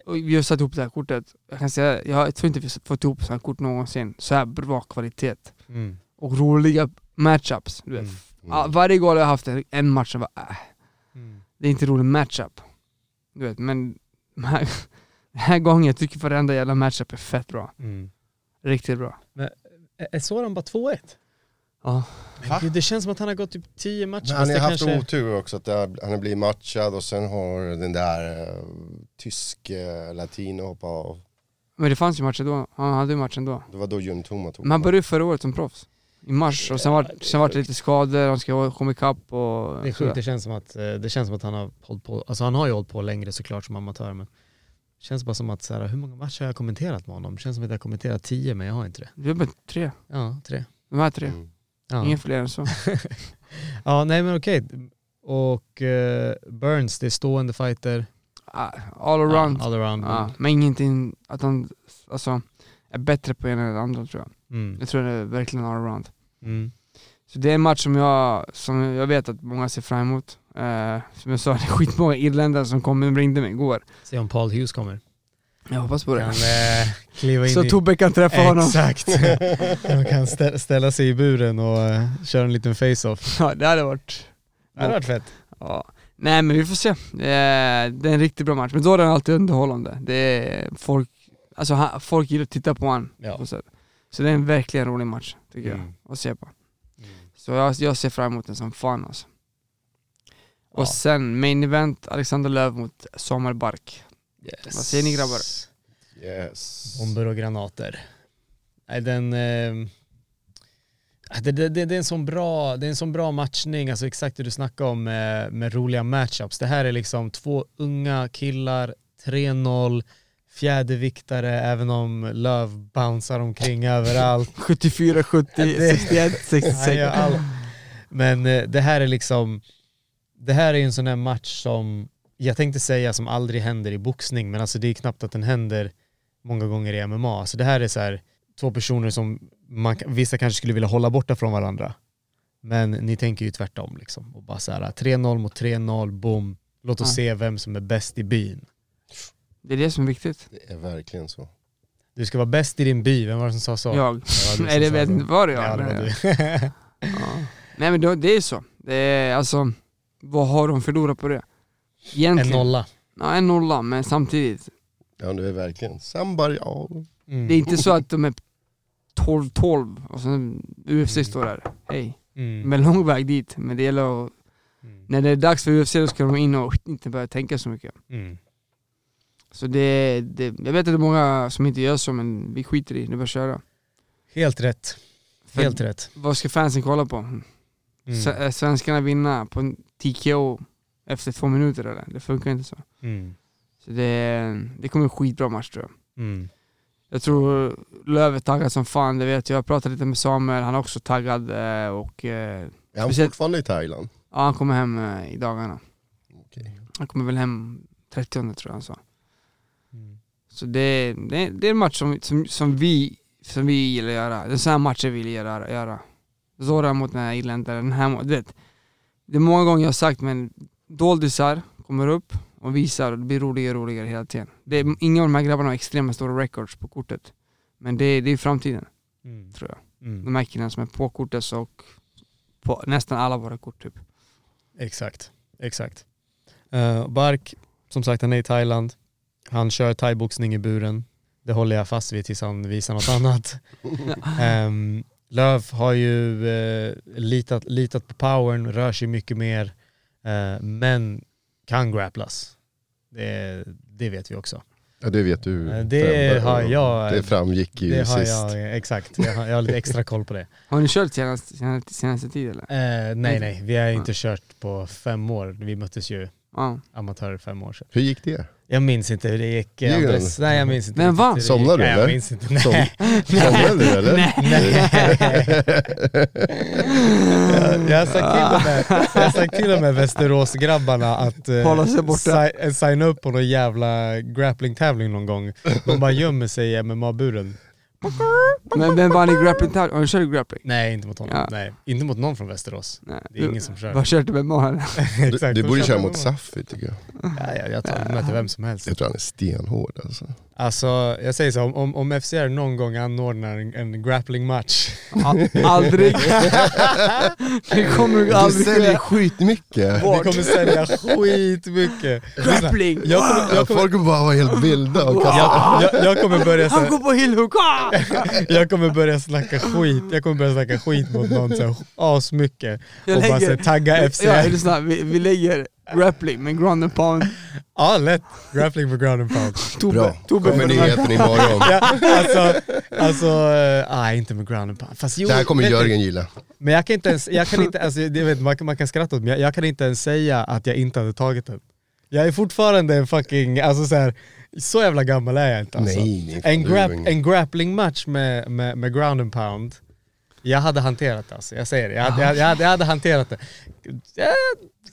Speaker 6: och vi har satt ihop det här kortet. Jag kan säga, jag tror inte vi har fått ihop så här kort någonsin. Så här bra kvalitet.
Speaker 4: Mm.
Speaker 6: Och roliga matchups. Du vet.
Speaker 4: Mm.
Speaker 6: Ja, Varje gång jag har haft en- en match som var äh,
Speaker 4: Mm.
Speaker 6: det är inte rolig matchup. Du vet, men den här, den här gången jag tycker varenda jävla matchup är fett bra.
Speaker 4: Mm.
Speaker 6: Riktigt bra.
Speaker 4: Är- Är Soran bara 2-1?
Speaker 6: Ja.
Speaker 4: Men gud, det känns som att han har gått typ 10 matcher.
Speaker 5: Men
Speaker 4: fast
Speaker 5: han har
Speaker 4: det
Speaker 5: haft
Speaker 4: kanske-
Speaker 5: otur också, att det har- han har blivit matchad och sen har den där eh, tysk eh, latino hoppat av.
Speaker 6: Men det fanns ju matcher då. Han hade ju matchen då.
Speaker 5: Det var då Jun Toma tog
Speaker 6: Men han
Speaker 5: honom.
Speaker 6: började ju förra året som proffs. I mars. Och sen var, sen var det lite skador, han ska komma ikapp och...
Speaker 4: Det är sjukt, det känns, som att, eh, det känns som att han har hållit på, alltså han har ju hållit på längre såklart som amatör men det känns bara som att så här, hur många matcher har jag kommenterat med honom? Det känns som att jag har kommenterat 10 men jag har inte det.
Speaker 6: Det var bara tre.
Speaker 4: Ja, tre.
Speaker 6: De här tre.
Speaker 5: Mm.
Speaker 4: Ja.
Speaker 6: Ingen fler än så.
Speaker 4: Ja, nej men okej. Och eh, Burns, det är stående fighter.
Speaker 6: Ah, All around. Ah.
Speaker 4: Ja, all around.
Speaker 6: Ja, men ingenting att han alltså, är bättre på ena eller andra tror jag.
Speaker 4: Mm.
Speaker 6: Jag tror det är verkligen all around.
Speaker 4: Mm.
Speaker 6: Så det är en match som jag, som jag vet att många ser fram emot. Eh, som jag sa, det är skitmånga irländare som kom och ringde mig igår.
Speaker 4: Se om Paul Hughes kommer.
Speaker 6: Jag hoppas på
Speaker 4: Kan eh, kliva in
Speaker 6: Så
Speaker 4: i...
Speaker 6: Tobbe kan träffa honom.
Speaker 4: Exakt. Han kan stä- ställa sig i buren och eh, köra en liten face-off.
Speaker 6: Ja, det hade varit...
Speaker 4: Det hade varit fett.
Speaker 6: Ja. Nej men vi får se. Eh, det är en riktigt bra match, men då är den alltid underhållande. Det är folk, alltså han, folk gillar att titta på honom.
Speaker 4: Ja.
Speaker 6: Så, så det är en verkligen rolig match, tycker
Speaker 4: Mm.
Speaker 6: jag, att se på. Så jag, jag ser fram emot den som fan alltså. Och sen main event, Alexander Löv mot Samuel Bark.
Speaker 4: Yes.
Speaker 6: Vad säger ni, grabbar?
Speaker 5: Yes.
Speaker 4: Bomber och granater. Nej, den... Eh, det, det, det, det, är en sån bra, det är en sån bra matchning, alltså exakt det du snackade om eh, med roliga matchups. Det här är liksom två unga killar, 3-0, fjäderviktare, även om Löv bouncear omkring överallt.
Speaker 6: 74, 70,
Speaker 4: Det-
Speaker 6: 61,
Speaker 4: Han
Speaker 6: 66.
Speaker 4: gör allt. Men eh, det här är liksom, det här är ju en sån här match som, jag tänkte säga som aldrig händer i boxning, Alltså men alltså det är knappt att den händer många gånger i MMA. Så det här är så här, två personer som man, kan- vissa kanske skulle vilja hålla borta från varandra. Men ni tänker ju tvärtom liksom. Och bara så här, 3-0 mot 3-0, boom. Låt oss
Speaker 6: Ja.
Speaker 4: se vem som är bäst i byn.
Speaker 6: Det är det som är viktigt.
Speaker 5: Det är verkligen så.
Speaker 4: Du ska vara bäst i din by, vem var det som sa så?
Speaker 6: Jag.
Speaker 4: Ja, du
Speaker 6: Nej, det
Speaker 4: som sa
Speaker 6: vet
Speaker 4: så.
Speaker 6: inte vad det
Speaker 4: Ja,
Speaker 6: är.
Speaker 4: det var
Speaker 6: men-
Speaker 4: du.
Speaker 6: Ja. Nej men då, det är så. Det är, alltså, vad har de förlorat på det?
Speaker 4: en
Speaker 6: Egentligen.
Speaker 4: nolla.
Speaker 6: Ja, en nolla, men samtidigt.
Speaker 5: Ja det är verkligen. Somebody, ja.
Speaker 4: Mm.
Speaker 6: Det är inte så att de är 12-12 och sen UFC står där. Hej.
Speaker 4: Mm.
Speaker 6: Men lång väg dit. Men det gäller att,
Speaker 4: Mm.
Speaker 6: när det är dags för UFC då ska de in och inte börja tänka så mycket.
Speaker 4: Mm.
Speaker 6: Så det, det, jag vet att det är många som inte gör så men vi skiter i det, det är bara att köra.
Speaker 4: Helt rätt.
Speaker 6: För
Speaker 4: Helt rätt.
Speaker 6: Vad ska fansen kolla på?
Speaker 4: Mm.
Speaker 6: S- eh, Svenskarna vinna på en TKO efter två minuter eller? Det funkar inte så.
Speaker 4: Mm.
Speaker 6: Så det, det kommer en skitbra match tror jag.
Speaker 4: Mm.
Speaker 6: Jag tror Löv är taggad som fan, det vet jag. Jag pratade lite med Samuel, han är också taggad eh, och eh,
Speaker 5: Är han
Speaker 6: Speciellt-
Speaker 5: fortfarande i Thailand?
Speaker 6: ja, han kommer hem eh, i dagarna.
Speaker 5: Okej.
Speaker 6: Han kommer väl hem 30 tror jag han sa.
Speaker 4: Mm.
Speaker 6: Så det, det, det är en match som, som, som, vi, som vi gillar att göra. Det är sådana matcher vi gillar att göra. Zora mot den här irländaren, den här mot- du vet. Det är många gånger jag har sagt men doldisar kommer upp och visar och det blir roligare och roligare hela tiden. Det är, inga av de här grabbarna har extremt stora records på kortet. Men det, det är framtiden
Speaker 4: Mm.
Speaker 6: tror jag.
Speaker 4: Mm.
Speaker 6: De här killarna som är på kortet och på nästan alla våra kort typ.
Speaker 4: Exakt. Exakt. Eh, Bark, som sagt han är i Thailand. Han kör thaiboxning i buren. Det håller jag fast vid tills han visar något annat. Um, Löv har ju eh, litat, litat på powern, rör sig mycket mer, eh, men kan grapplas. Det, det vet vi också.
Speaker 5: Ja det vet du.
Speaker 4: Eh, det
Speaker 5: Fredde,
Speaker 4: har
Speaker 5: och
Speaker 4: jag-
Speaker 5: Mm. Det framgick ju
Speaker 4: det har
Speaker 5: sist.
Speaker 4: jag, exakt. Jag har, jag har lite extra koll på det.
Speaker 6: Har ni kört senaste, senaste, senaste tid eller?
Speaker 4: Eh,
Speaker 5: Mm.
Speaker 4: nej, nej, vi har inte kört på fem år. Vi möttes ju
Speaker 6: Ja.
Speaker 4: amatörer fem år sedan.
Speaker 5: Hur gick det?
Speaker 4: Jag minns inte hur det gick. eh,
Speaker 5: Ljuger du?
Speaker 4: Andres. Nej, jag minns inte.
Speaker 6: Men
Speaker 4: riktigt
Speaker 6: va?
Speaker 4: hur det gick.
Speaker 5: Somnade du,
Speaker 4: Nej, jag
Speaker 5: eller?
Speaker 4: minns inte. Nej.
Speaker 5: Som, somnade du eller?
Speaker 4: jag, jag har sagt till och med, jag har sagt till och med Västeråsgrabbarna att eh,
Speaker 6: Hålla sig borta.
Speaker 4: si- eh, signa upp på någon jävla grappling-tävling någon gång. De bara gömmer sig i MMA-buren.
Speaker 6: Men vem vann i grappling tävling? Har ni kört grappling?
Speaker 4: Nej, inte mot honom.
Speaker 6: Ja.
Speaker 4: Nej, inte mot någon från Västerås.
Speaker 6: Nej.
Speaker 4: Det är ingen som kör.
Speaker 6: Vad körde du med
Speaker 5: Du,
Speaker 4: Exakt,
Speaker 5: du
Speaker 4: de
Speaker 5: borde
Speaker 4: kör
Speaker 5: köra
Speaker 4: på
Speaker 5: mot
Speaker 4: MMA.
Speaker 5: Safi tycker jag.
Speaker 4: Ja, ja, jag tar, möter vem som helst.
Speaker 5: Jag tror han är stenhård alltså.
Speaker 4: Alltså, jag säger så, om- om, om FCR någon gång anordnar en, en grappling-match
Speaker 6: A- aldrig. det kommer du
Speaker 5: Du
Speaker 6: aldrig
Speaker 5: säljer
Speaker 6: ske.
Speaker 5: skitmycket.
Speaker 4: Vi kommer sälja skitmycket.
Speaker 6: Grappling!
Speaker 4: Jag kommer,
Speaker 5: Ja,
Speaker 4: jag, kommer,
Speaker 5: folk kommer bara vara helt vilda och kasta.
Speaker 4: jag, jag, jag, kommer börja, så
Speaker 6: Han
Speaker 4: här-
Speaker 6: går på hillhook! Ah!
Speaker 4: jag kommer börja snacka skit. Jag kommer börja snacka skit mot någon så här asmycket.
Speaker 6: Jag
Speaker 4: Och bara så här,
Speaker 6: lägger...
Speaker 4: tagga FCR.
Speaker 6: Ja,
Speaker 4: Ja,
Speaker 6: är det snabbt? Vi, vi lägger grappling med ground and pound.
Speaker 4: lätt. Grappling for ground and pound.
Speaker 5: Bra,
Speaker 6: Tobbe, Tobbe
Speaker 5: kommer nyheten imorgon.
Speaker 4: Ja, alltså, alltså, eh, nej inte med ground and pound. Fast jo,
Speaker 5: Det här kommer
Speaker 4: vet du-
Speaker 5: Jörgen gilla.
Speaker 4: Men jag kan inte ens, jag kan inte, alltså, jag vet, man, kan, man kan skratta åt mig, jag, jag kan inte ens säga att jag inte hade tagit den. Jag är fortfarande en fucking, alltså så här, så jävla gammal är jag inte alltså.
Speaker 5: Nej, nej, fan,
Speaker 4: en,
Speaker 5: du
Speaker 4: grap,
Speaker 5: är ingen-
Speaker 4: en grappling match med, med, med ground and pound, jag hade hanterat det alltså, jag säger det. Jag hade, jag, jag hade, jag hade hanterat det. Eh,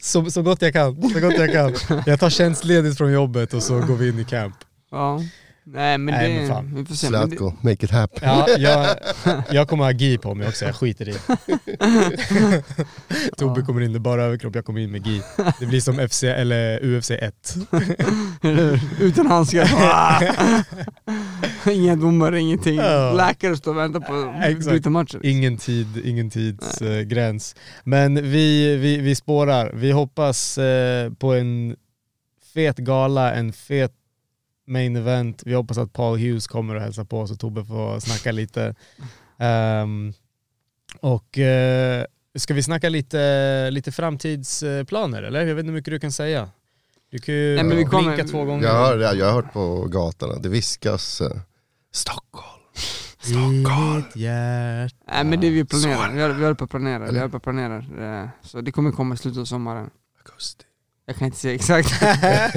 Speaker 4: Så, så gott jag kan, så gott jag kan. Jag tar tjänstledigt från jobbet och så går vi in i camp.
Speaker 6: Ja. Nej men det...
Speaker 4: Nej, men fan.
Speaker 6: vi får se. Men det,
Speaker 5: Zlatko, make it happen.
Speaker 4: Ja, jag, jag kommer ha gi på mig också, jag skiter i. Tobbe kommer in med bara överkropp, jag kommer in med gi. Det blir som FC, eller UFC 1.
Speaker 6: utan handskar. Ah! Inga domare, ingenting.
Speaker 4: Ja.
Speaker 6: Läkare står och väntar på att
Speaker 4: Exakt.
Speaker 6: bryta matchen.
Speaker 4: Ingen tid, ingen tidsgräns. Men vi, vi, vi spårar. Vi hoppas eh, på en fet gala, en fet main event. Vi hoppas att Paul Hughes kommer och hälsar på oss och Tobbe får snacka lite. Ehm, och eh, ska vi snacka lite, lite framtidsplaner eller? Jag vet inte hur mycket du kan säga. Du kan ju
Speaker 6: Nej, men vi
Speaker 4: blinka
Speaker 6: kommer-
Speaker 4: två gånger.
Speaker 5: Jag har, jag har hört på gatan att det viskas eh, Stockholm.
Speaker 4: I mitt hjärta.
Speaker 6: Nej men det vi planerar. Vi håller vi håller på att planera. Vi håller på att planera. Eh, Så det kommer komma i slutet av sommaren.
Speaker 5: Augusti.
Speaker 6: Jag kan inte säga exakt. Eh,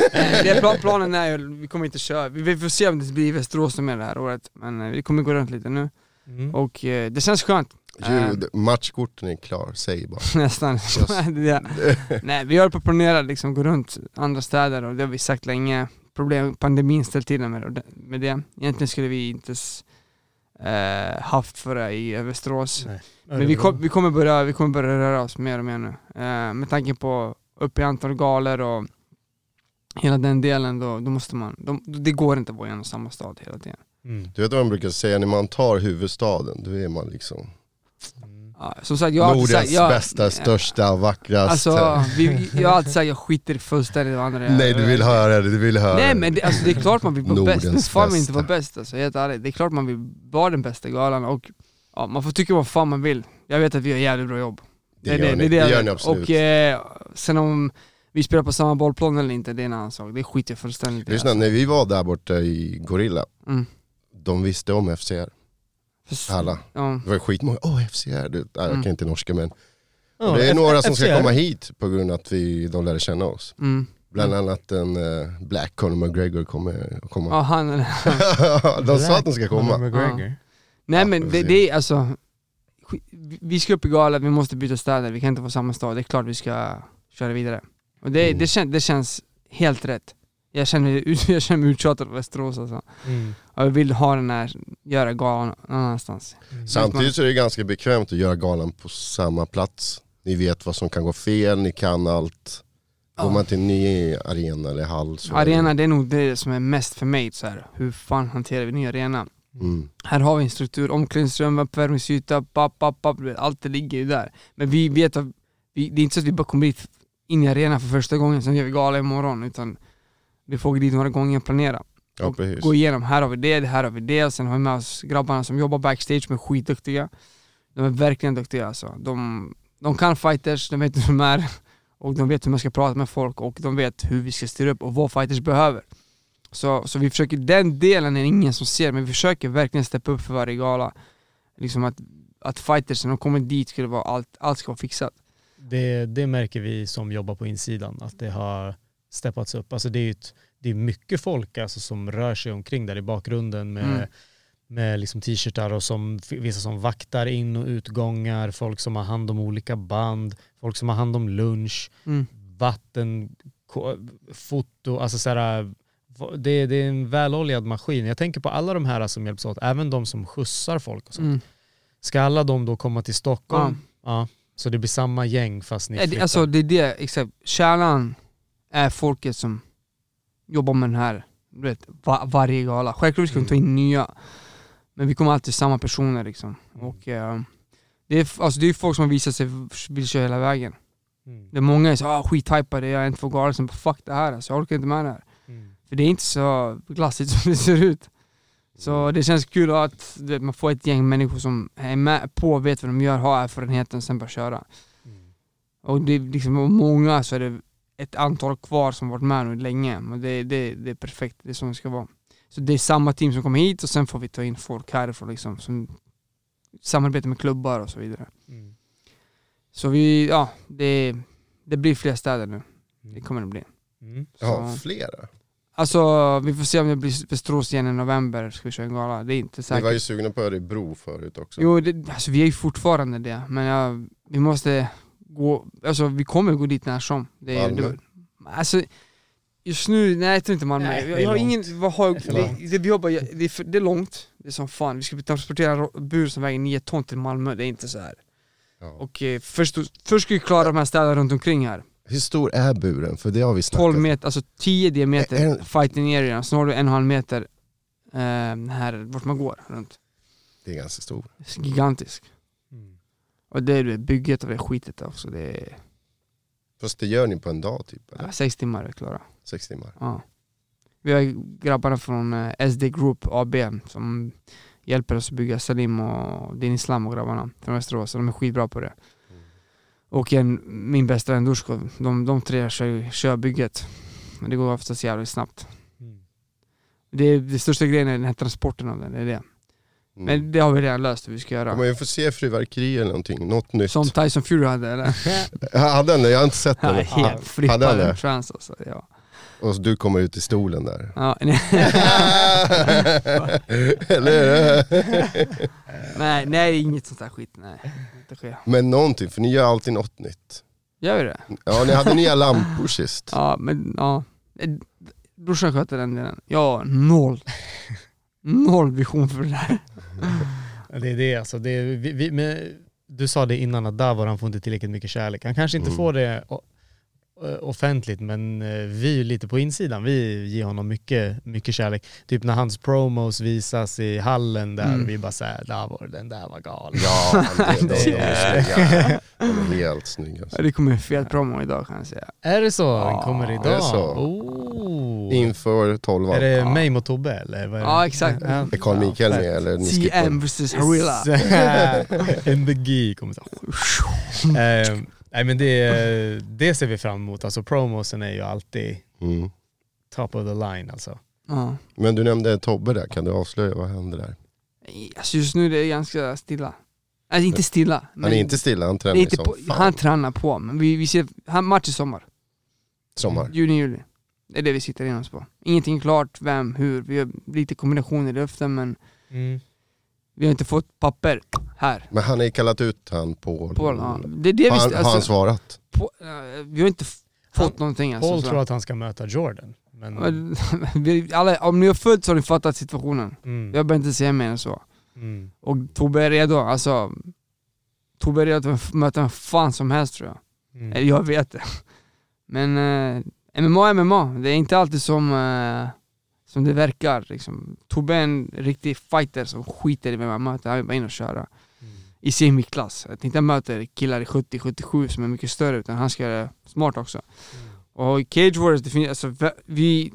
Speaker 6: det är plan, planen är ju, vi kommer inte köra. Vi, vi får se om det blir Västerås som är det här året. Men eh, vi kommer gå runt lite nu.
Speaker 4: Mm.
Speaker 6: Och eh, det känns skönt.
Speaker 5: Ljud, matchkorten är klar, säg bara.
Speaker 6: Nästan. det är det. Nej vi håller på att planera liksom, gå runt andra städer och det har vi sagt länge. Problem, pandemin ställt till det med, med det. Egentligen skulle vi inte s- eh, haft för det i eh, Västerås. Men vi,
Speaker 4: Örebro.
Speaker 6: kom, vi, kommer börja, vi kommer börja röra oss mer och mer nu. Eh, med tanke på upp i antal galor och hela den delen, då, då måste man, då, det går inte att vara i en och samma stad hela tiden.
Speaker 4: Mm.
Speaker 5: Du vet vad man brukar säga, när man tar huvudstaden, då är man liksom
Speaker 4: Mm.
Speaker 6: Ja, som sagt, jag har alltid
Speaker 5: Nordens
Speaker 6: sagt, jag, eh,
Speaker 5: bästa, största, vackraste.
Speaker 6: Alltså, vi, jag har alltid sagt jag skiter fullständigt i vad andra gör.
Speaker 5: Nej du vill höra det, du vill höra
Speaker 6: eh, Nej
Speaker 5: det.
Speaker 6: men det, alltså, det är klart man vill vara
Speaker 5: Nordens
Speaker 6: bäst, hur fan vill inte
Speaker 5: bästa.
Speaker 6: vara bäst alltså, helt ärligt. Det är klart man vill vara den bästa galan och ja, man får tycka vad fan man vill. Jag vet att vi gör jävligt bra jobb.
Speaker 5: det, gör ni, det,
Speaker 6: jag
Speaker 5: gör
Speaker 6: vet.
Speaker 5: ni absolut.
Speaker 6: Och eh, sen om vi spelar på samma bollplan eller inte, det är en annan sak. Det skiter jag fullständigt i.
Speaker 5: Lyssna, när vi var där borta i Gorilla,
Speaker 6: Mm.
Speaker 5: de visste om FCR,
Speaker 6: Fast-
Speaker 5: alla.
Speaker 6: Ja.
Speaker 5: Det var skitmånga, åh FCR, du, nej, jag kan
Speaker 6: Mm.
Speaker 5: inte norska men.
Speaker 4: Ja,
Speaker 5: det är
Speaker 4: F-
Speaker 5: några som ska
Speaker 4: FCR.
Speaker 5: komma hit på grund av att vi, de lärde känna oss.
Speaker 6: Mm.
Speaker 5: Bland annat en eh, Black Conor McGregor kommer att komma.
Speaker 6: Ja, han eller
Speaker 5: de sa att de ska komma.
Speaker 4: McGregor.
Speaker 6: Nej
Speaker 5: Ja,
Speaker 6: men
Speaker 5: vi får
Speaker 6: det,
Speaker 5: se.
Speaker 6: det är alltså, skit- vi- vi ska upp i gala, vi måste byta städer, vi kan inte vara samma stad, det är klart vi ska köra vidare. Och det,
Speaker 5: Mm.
Speaker 6: det, kän, det känns helt rätt. Jag känner, mig ut- jag känner mig uttjatad av Västerås alltså.
Speaker 4: Mm.
Speaker 6: Och jag vill ha den här, göra galan någon annanstans.
Speaker 5: Samtidigt så är det ganska bekvämt att göra galan på samma plats. Ni vet vad som kan gå fel, ni kan allt. Går
Speaker 6: Ja.
Speaker 5: man till en ny arena eller hall så... är det-
Speaker 6: Arena, det är nog det som är mest för mig så här. hur fan hanterar vi ny arena?
Speaker 5: Mm.
Speaker 6: Här har vi en struktur, omklädningsrum, uppvärmningsyta, papp, papp, papp, du vet, allt det ligger ju där. Men vi vet att, vi, det är inte så att vi bara kommer dit in i arenan för första gången, sen gör vi gala imorgon, utan vi får gå dit några gånger och planera.
Speaker 5: Ja,
Speaker 6: och
Speaker 5: precis.
Speaker 6: gå igenom, här har vi det, det här har vi det, och sen har vi med oss grabbarna som jobbar backstage, som är skitduktiga. De är verkligen duktiga alltså. De, de kan fighters, de vet hur de är, och de vet hur man ska prata med folk, och de vet hur vi ska styra upp och vad fighters behöver. Så, så vi försöker, den delen är det ingen som ser, men vi försöker verkligen steppa upp för varje gala. Liksom att, att fighters, när de kommer dit, skulle vara allt, allt ska vara fixat.
Speaker 4: Det, det märker vi som jobbar på insidan, att det har steppats upp. Alltså det är, ju ett, det är mycket folk alltså som rör sig omkring där i bakgrunden med,
Speaker 6: Mm.
Speaker 4: med liksom t-shirtar och som, vissa som vaktar in och utgångar, folk som har hand om olika band, folk som har hand om lunch,
Speaker 6: Mm.
Speaker 4: vatten, ko- foto, alltså så här, va- det, det är en väloljad maskin. Jag tänker på alla de här som hjälps åt, även de som skjutsar folk. Och sånt.
Speaker 6: Mm.
Speaker 4: Ska alla de då komma till
Speaker 6: Ja.
Speaker 4: Stockholm? Ja. Så det blir samma gäng fast ni
Speaker 6: Ja, det-
Speaker 4: flyttar?
Speaker 6: Alltså det är det, exakt. Kärnan är folket som jobbar med den här, du vet, va- varje gala. Självklart ska vi ta
Speaker 4: Mm.
Speaker 6: in nya, men vi kommer alltid samma personer liksom.
Speaker 4: Mm.
Speaker 6: Och eh, det är f- alltså, det är folk som har visat sig vill köra hela vägen.
Speaker 4: Mm.
Speaker 6: Det är många som är ah, skithypade, jag är en, två galor, som bara fuck det här alltså, jag orkar inte med det här.
Speaker 4: Mm.
Speaker 6: För det är inte så glassigt som det ser ut. Så
Speaker 4: Mm.
Speaker 6: det känns kul att du vet, man får ett gäng människor som är med på, vet vad de gör, har erfarenheten och sen bara köra.
Speaker 4: Mm.
Speaker 6: Och det är liksom av många så är det ett antal kvar som varit med nu länge. Men det, det, det är perfekt, det är som det ska vara. Så det är samma team som kommer hit och sen får vi ta in folk härifrån liksom. Som samarbetar med klubbar och så vidare.
Speaker 4: Mm.
Speaker 6: Så vi, ja, det, det blir fler städer nu. Det kommer det bli.
Speaker 4: Mm.
Speaker 5: Ja,
Speaker 6: Så,
Speaker 5: flera.
Speaker 6: alltså vi får se om det blir Västerås igen i november, ska vi köra en gala. Det är inte
Speaker 5: Ni
Speaker 6: säkert.
Speaker 5: var ju sugna på Örebro förut också.
Speaker 6: Jo, det, alltså vi är ju fortfarande det, men ja, vi måste gå, alltså vi kommer gå dit när som. Det är,
Speaker 5: Malmö?
Speaker 6: det, alltså, just nu, nej jag tror inte Malmö.
Speaker 4: Nej, det är
Speaker 6: jag, jag har
Speaker 4: långt.
Speaker 6: ingen, vad har jag,
Speaker 4: Det är för långt.
Speaker 6: det, det, vi jobbar, det, är för, det är långt, det är som fan. Vi ska transportera ro- bur som väger 9 ton till Malmö, det är inte så här.
Speaker 5: Ja.
Speaker 6: Och eh, först, först ska vi klara de här städerna runt omkring här.
Speaker 5: Hur stor är buren? För det har vi snackat
Speaker 6: 12 meter, alltså 10 diameter
Speaker 5: En-
Speaker 6: fighting area, sen har du en och en halv meter eh, här, vart man går runt.
Speaker 5: Det är ganska stor.
Speaker 6: Gigantisk.
Speaker 4: Mm.
Speaker 6: Och det är det bygget av det skitet också, det är
Speaker 5: Fast det gör ni på en dag typ, eller?
Speaker 6: Ja, sex timmar är klara.
Speaker 5: Sex timmar.
Speaker 6: Ja. Vi har grabbarna från eh, SD Group AB som hjälper oss att bygga Salim och Din Islam och grabbarna från Västerås. Så De är skitbra på det.
Speaker 5: Mm.
Speaker 6: Och en, min bästa vän Dusko, de, de tre kör, kör bygget. Men det går oftast jävligt snabbt.
Speaker 4: Mm.
Speaker 6: Det, är- det största grejen är den här transporten av den, det är det.
Speaker 5: Mm.
Speaker 6: Men det har vi redan löst hur vi ska
Speaker 5: Kommer
Speaker 6: göra.
Speaker 5: vi få se fyrverkeri eller någonting? Något nytt?
Speaker 6: Som Tyson Fury hade eller?
Speaker 5: Jag Hade han det? Jag har inte sett
Speaker 6: Ja,
Speaker 5: det.
Speaker 6: helt
Speaker 5: Hade han
Speaker 6: flippade
Speaker 5: det?
Speaker 6: en trans alltså. Ja.
Speaker 5: Och så du kommer ut i stolen där.
Speaker 6: Ja, nej.
Speaker 5: eller hur?
Speaker 6: nej, nej, inget sånt där skit. Nej, inte sker.
Speaker 5: Men någonting, för ni gör alltid något nytt.
Speaker 6: Gör vi det?
Speaker 5: Ja, ni hade nya lampor sist.
Speaker 6: Ja, men ja. Eh, Brorsan sköter den delen. Jag har noll. Noll vision för det där.
Speaker 4: Det är det alltså. Det är, vi, vi, men du sa det innan att Davor han får inte tillräckligt mycket kärlek. Han kanske inte
Speaker 5: Mm.
Speaker 4: får det o- eh, offentligt men eh, vi är lite på insidan. Vi ger honom mycket, mycket kärlek. Typ när hans promos visas i hallen där
Speaker 6: Mm.
Speaker 4: vi bara såhär Davor den där var galen.
Speaker 5: Ja, det, de, de, de är snygga. De är helt snygga. alltså.
Speaker 6: Ja, Det kommer en fet promo idag kan jag säga.
Speaker 4: Är det så? Den kommer idag?
Speaker 5: Är det så?
Speaker 4: Oh.
Speaker 5: Inför tolvan.
Speaker 4: Är det mig mot Tobbe eller? Vad är det?
Speaker 6: Ja, exakt.
Speaker 5: Är Carl Mikael med eller ni skippar?
Speaker 6: CM vs Harilla.
Speaker 4: And the G kommer så.
Speaker 5: Mm.
Speaker 4: Eh, Nej men det, det ser vi fram emot. Alltså promosen är ju alltid
Speaker 5: Mm.
Speaker 4: top of the line alltså.
Speaker 6: Ja.
Speaker 5: Men du nämnde Tobbe där, kan du avslöja vad händer där?
Speaker 6: Alltså just nu det är ganska stilla. Alltså inte stilla.
Speaker 5: Han är inte stilla, han tränar
Speaker 6: inte
Speaker 5: som
Speaker 6: på,
Speaker 5: fan.
Speaker 6: Han tränar på, men vi, vi ser, han, match i sommar.
Speaker 5: Sommar.
Speaker 6: Juni, juli. Det är det vi sitter in oss på. Ingenting klart, vem, hur. Vi har lite kombinationer i luften men Mm. vi har inte fått papper här.
Speaker 5: Men han har ju kallat ut han Paul.
Speaker 6: På, ja. Det är det
Speaker 5: Har
Speaker 6: vi...
Speaker 5: han, har han
Speaker 6: Alltså,
Speaker 5: svarat?
Speaker 6: på, eh, vi har inte f- fått
Speaker 4: Han-
Speaker 6: någonting alltså.
Speaker 4: Paul
Speaker 6: så.
Speaker 4: tror att han ska möta Jordan. Men,
Speaker 6: Men- vi, alla, om ni har följt så har ni fattat situationen.
Speaker 4: mm,
Speaker 6: Jag behöver inte säga mer än så.
Speaker 4: mm.
Speaker 6: Och Tobbe är redo, alltså. Tobbe är redo att möta vem fan som helst tror jag.
Speaker 4: Mm.
Speaker 6: Eller Eh, jag vet det. Men eh, MMA är MMA, det är inte alltid som, eh, som det verkar. Liksom. Tobbe är en riktig fighter som skiter i vem han möter, han vill bara in och köra. I semiklass. Att inte han möter killar i 70-77 som är mycket större, utan han ska göra det smart också. Och i Cage Warriors, det finns, alltså, vä- vi,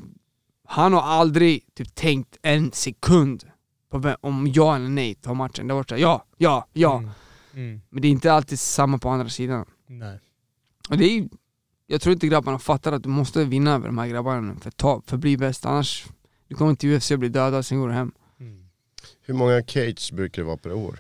Speaker 6: han har aldrig typ, tänkt en sekund på vem, om ja eller nej tar matchen. Det har varit såhär, ja, ja, ja.
Speaker 4: Mm. Mm.
Speaker 6: Men det är inte alltid samma på andra sidan.
Speaker 4: Nej.
Speaker 6: Och det är ju, jag tror inte grabbarna fattar att du måste vinna över de här grabbarna nu för, ta, för att bli bäst, annars du kommer till UFC och blir dödad, sen går du hem.
Speaker 4: Mm.
Speaker 5: Hur många cage brukar det vara per år?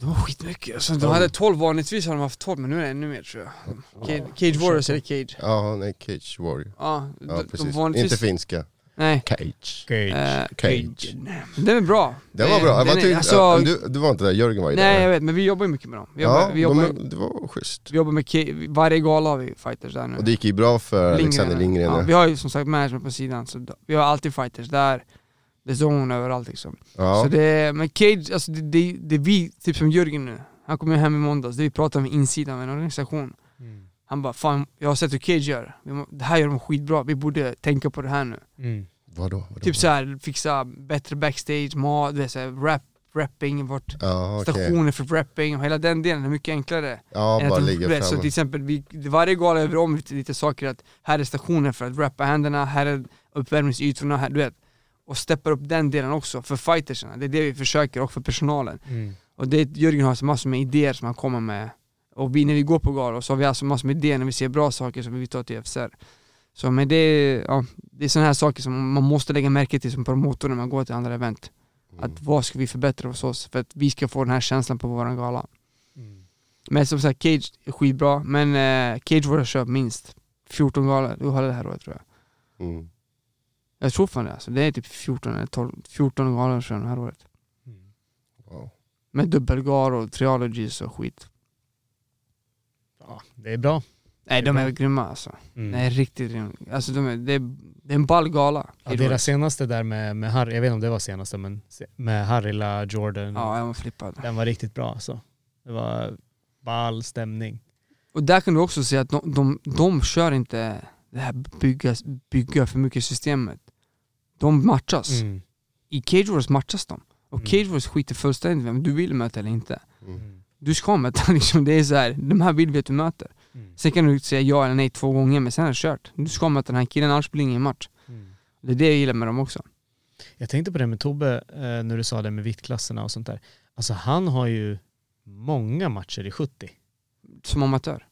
Speaker 6: De har skitmycket, alltså, de hade 12 vanligtvis har de haft 12 men nu är det ännu mer tror jag. Cage, cage Warriors eller Cage?
Speaker 5: Ja, nej cage warrior.
Speaker 6: Ja,
Speaker 5: Ja,
Speaker 6: de, de
Speaker 5: precis.
Speaker 6: vanligtvis...
Speaker 5: Inte finska.
Speaker 6: Nej.
Speaker 5: Cage.
Speaker 4: Cage.
Speaker 6: eh,
Speaker 5: Cage.
Speaker 6: Den är bra.
Speaker 5: Det var bra.
Speaker 6: Den
Speaker 5: Vad
Speaker 6: är-
Speaker 5: tyckte-
Speaker 6: alltså-
Speaker 5: du, du var inte där, Jörgen var ju
Speaker 6: Nej jag
Speaker 5: där.
Speaker 6: vet, men vi jobbar ju mycket med dem. Vi jobbar,
Speaker 5: Ja,
Speaker 6: vi jobbar,
Speaker 5: de, det var schysst.
Speaker 6: vi jobbar med Cage, varje gala har vi fighters där nu.
Speaker 5: Och det gick ju bra för Alexander Lindgren.
Speaker 6: Ja,
Speaker 5: Ja,
Speaker 6: vi har ju som sagt management på sidan, så då- vi har alltid fighters där. Det är zon överallt liksom. Så
Speaker 5: ja.
Speaker 6: det, men Cage, alltså det, det, det är vi, typ som Jörgen nu. Han kom ju hem i måndags, det vi pratade med insidan av en organisation.
Speaker 4: Mm.
Speaker 6: Han bara 'Fan, jag har sett hur Cage gör. Vi må, det här gör de skitbra, vi borde tänka på det här nu'
Speaker 4: Mm.
Speaker 5: Vadå? Vadå?
Speaker 6: Typ såhär, fixa bättre backstage, mat, du vet såhär, rap, rapping, vart
Speaker 5: ja, okej.
Speaker 6: stationer för rapping och hela den delen är mycket enklare.
Speaker 5: Ja,
Speaker 6: än
Speaker 5: bara
Speaker 6: att
Speaker 5: ligga
Speaker 6: du Eh, vet, Så till
Speaker 5: framme.
Speaker 6: exempel, vi, varje gala över om lite, lite saker att här är stationer för att rappa händerna, här är uppvärmningsytorna, här, du vet. Och steppar upp den delen också, för fightersarna. Det är det vi försöker, och för personalen.
Speaker 4: Mm.
Speaker 6: Och det, Jörgen har alltså massor med idéer som han kommer med. Och vi, när vi går på galor så har vi alltså massor med idéer när vi ser bra saker som vi vill ta till FCR. Så men det, är- ja, det är sådana här saker som man måste lägga märke till som promotor när man går till andra event.
Speaker 5: Mm.
Speaker 6: Att vad ska vi förbättra hos oss för att vi ska få den här känslan på våran gala.
Speaker 4: Mm.
Speaker 6: Men som sagt, Cage är skitbra, men eh, Cage Warriors köpt minst 14 galor, du har det här året tror jag.
Speaker 5: Mm.
Speaker 6: Jag tror fan det alltså, det är typ 14 eller 12, 14 galor tror jag det här året.
Speaker 4: Mm.
Speaker 5: Wow.
Speaker 6: Med dubbelgalor, triologies och skit.
Speaker 4: Ja, det är bra.
Speaker 6: Nej
Speaker 4: Det är
Speaker 6: de är
Speaker 4: bra.
Speaker 6: grymma alltså.
Speaker 4: Mm.
Speaker 6: Nej riktigt rymd. Alltså de är, det, är, det är en ball gala.
Speaker 4: Ja, deras senaste där med, med Harry, jag vet inte om det var senaste men se- med Harrila, Jordan.
Speaker 6: ja jag var flippad.
Speaker 4: Den var riktigt bra alltså. Det var ball stämning.
Speaker 6: Och där kan du också se att de, de, de kör inte det här bygga, bygga för mycket systemet. De matchas.
Speaker 4: Mm.
Speaker 6: I Cage Wars matchas de. Och
Speaker 4: Mm.
Speaker 6: Cage Wars skiter fullständigt i vem du vill möta eller inte.
Speaker 4: Mm.
Speaker 6: Du ska möta liksom, det är så här, de här vill vi att du möter.
Speaker 4: Mm.
Speaker 6: Sen kan du säga ja eller nej två gånger men sen är det kört. Du ska möta den här killen annars blir det ingen match. Det är det jag gillar med dem också.
Speaker 4: Jag tänkte på det med Tobbe eh, när du sa det med viktklasserna och sånt där. Alltså han har ju många matcher i 70.
Speaker 6: Som amatör.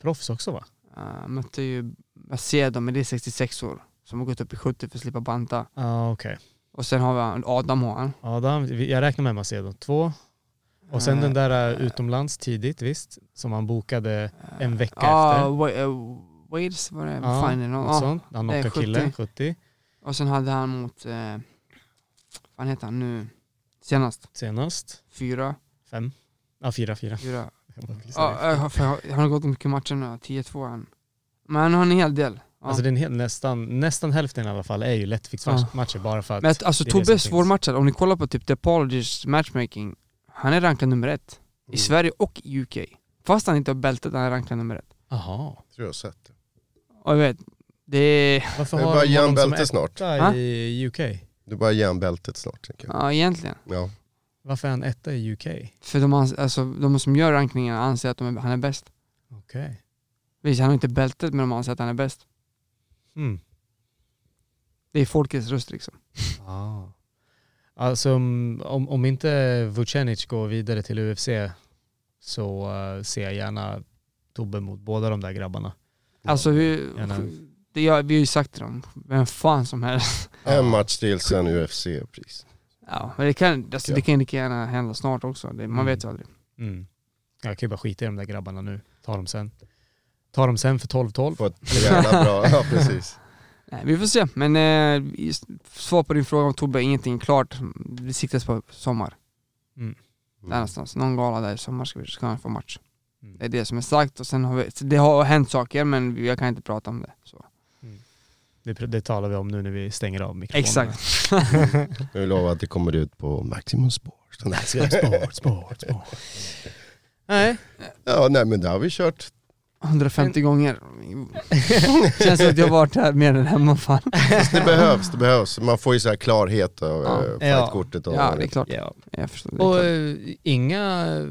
Speaker 4: Proffs också va?
Speaker 6: Uh, mötte ju Macedo, men det är 66 år, som har gått upp i 70 för att slippa banta.
Speaker 4: Ja okej.
Speaker 6: Och sen har vi han- Adam har han.
Speaker 4: Adam, vi- jag räknar med Macedo. Två. Och sen
Speaker 6: Eh,
Speaker 4: den där eh, utomlands tidigt visst. Som han bokade en vecka
Speaker 6: Ja,
Speaker 4: efter.
Speaker 6: Wa- eh, Wales var det,
Speaker 4: Ja,
Speaker 6: vad fan är det? någon-
Speaker 4: Något
Speaker 6: ja.
Speaker 4: sånt. Han
Speaker 6: det är
Speaker 4: knockade
Speaker 6: 70.
Speaker 4: killen 70
Speaker 6: Och sen hade han mot, eh, vad heter han nu, senast?
Speaker 4: senast.
Speaker 6: Fyra,
Speaker 4: Fem. Ja fyra, fyra.
Speaker 6: fyra.
Speaker 4: Jag bara gissade.
Speaker 6: Ja, eh, för han- han har gått mycket matcher nu, 10-2 han. Men han har en hel del. Ja.
Speaker 4: Alltså det är en hel, nästan, nästan hälften i alla fall är ju lättviktsmatcher
Speaker 6: Ja.
Speaker 4: matcher bara för att
Speaker 6: men att, alltså
Speaker 4: det är det som
Speaker 6: Tobbe är
Speaker 4: finns.
Speaker 6: svårmatchad, om ni kollar på typ The Apologies matchmaking, Han är rankad nummer ett.
Speaker 4: Mm.
Speaker 6: I Sverige och i UK. Fast han inte har bältet, han är rankad nummer ett.
Speaker 4: Jaha.
Speaker 5: Jag tror jag har sett det.
Speaker 6: Och jag vet, det är...
Speaker 4: Varför
Speaker 5: Det är
Speaker 4: har
Speaker 5: bara
Speaker 4: de honom som
Speaker 5: järnbälte snart.
Speaker 4: etta
Speaker 6: Ha?
Speaker 4: i UK?
Speaker 5: Du bara ge han bältet snart. tänker jag.
Speaker 6: Ja, egentligen.
Speaker 5: Ja.
Speaker 4: Varför är han etta i UK?
Speaker 6: För de, ans- alltså, de som gör rankningen anser att de är, han är bäst.
Speaker 4: Okej.
Speaker 6: Visst, han har inte bältet men de anser att han är bäst.
Speaker 4: Mm.
Speaker 6: Det är folkets röst liksom.
Speaker 4: Ah. Alltså om, om om inte Vucenic går vidare till UFC så eh, ser jag gärna Tobbe mot båda de där grabbarna.
Speaker 6: Alltså vi,
Speaker 4: Gärna.
Speaker 6: det, ja, vi har ju sagt till dem, vem fan som helst.
Speaker 5: En match till sen UFC-pris.
Speaker 6: Ja, men det kan, alltså,
Speaker 5: Ja.
Speaker 6: det kan lika gärna hända snart också. Det, man
Speaker 4: Mm.
Speaker 6: vet ju aldrig.
Speaker 4: Mm. Jag kan ju bara skita i de där grabbarna nu. Ta dem sen. Ta dem sen för 12-12.
Speaker 5: På ett jävla bra, ja precis.
Speaker 6: Nej, vi får se, men eh, just- svar på din fråga om Tobbe, ingenting klart. Det siktas på sommar. Där
Speaker 4: alltså.
Speaker 6: någonstans. Någon gala där i sommar ska, vi, ska han få match.
Speaker 4: Mm.
Speaker 6: Det är det som är sagt och sen har vi, så det har hänt saker men jag kan inte prata om det. Så.
Speaker 4: Det, pr- det talar vi om nu när vi stänger av mikrofonen.
Speaker 6: Exakt.
Speaker 5: Jag lovar att det kommer ut på Maximum Sport.
Speaker 4: Sport, sport, sport. Nej.
Speaker 5: Ja, nej men det har vi kört.
Speaker 6: 150 gånger. Känns som att jag har varit här mer än hemma fan.
Speaker 5: Fast Det behövs, det behövs. Man får ju så här klarhet av
Speaker 6: Ja.
Speaker 5: ja. fightkortet. och-
Speaker 6: Ja det är klart.
Speaker 4: Ja.
Speaker 6: Jag förstår. Det är
Speaker 4: Och
Speaker 6: klart.
Speaker 4: eh, inga... eh,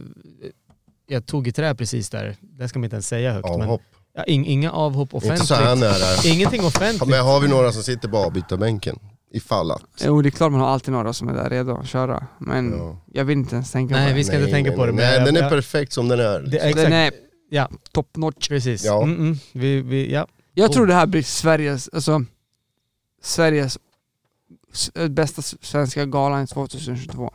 Speaker 4: Jag tog i trä precis där. Det ska man inte ens säga högt. Men,
Speaker 5: Avhopp.
Speaker 4: ja, ing, inga avhopp
Speaker 5: Inte så här
Speaker 4: offentligt.
Speaker 5: nära.
Speaker 4: Ingenting
Speaker 5: Ja,
Speaker 4: offentligt.
Speaker 5: Men har vi några som sitter på avbytarbänken? Ifall att.
Speaker 6: Jo det är klart man har alltid några som är där redo att köra. Men
Speaker 5: Ja.
Speaker 6: jag vill inte ens tänka
Speaker 4: Nej,
Speaker 6: på det.
Speaker 4: Mm. vi ska inte tänka
Speaker 5: nej,
Speaker 4: på det, men
Speaker 5: Nej,
Speaker 4: jag-
Speaker 5: den är
Speaker 4: jag-
Speaker 5: perfekt som den är.
Speaker 4: Det, exakt.
Speaker 6: Den är
Speaker 4: Ja,
Speaker 6: top notch.
Speaker 4: precis.
Speaker 5: Ja.
Speaker 4: Mm, mm. Vi, vi, ja.
Speaker 6: Jag
Speaker 4: Oh.
Speaker 6: tror det här blir Sveriges, alltså Sveriges s- eh, bästa s- svenska galan 2022.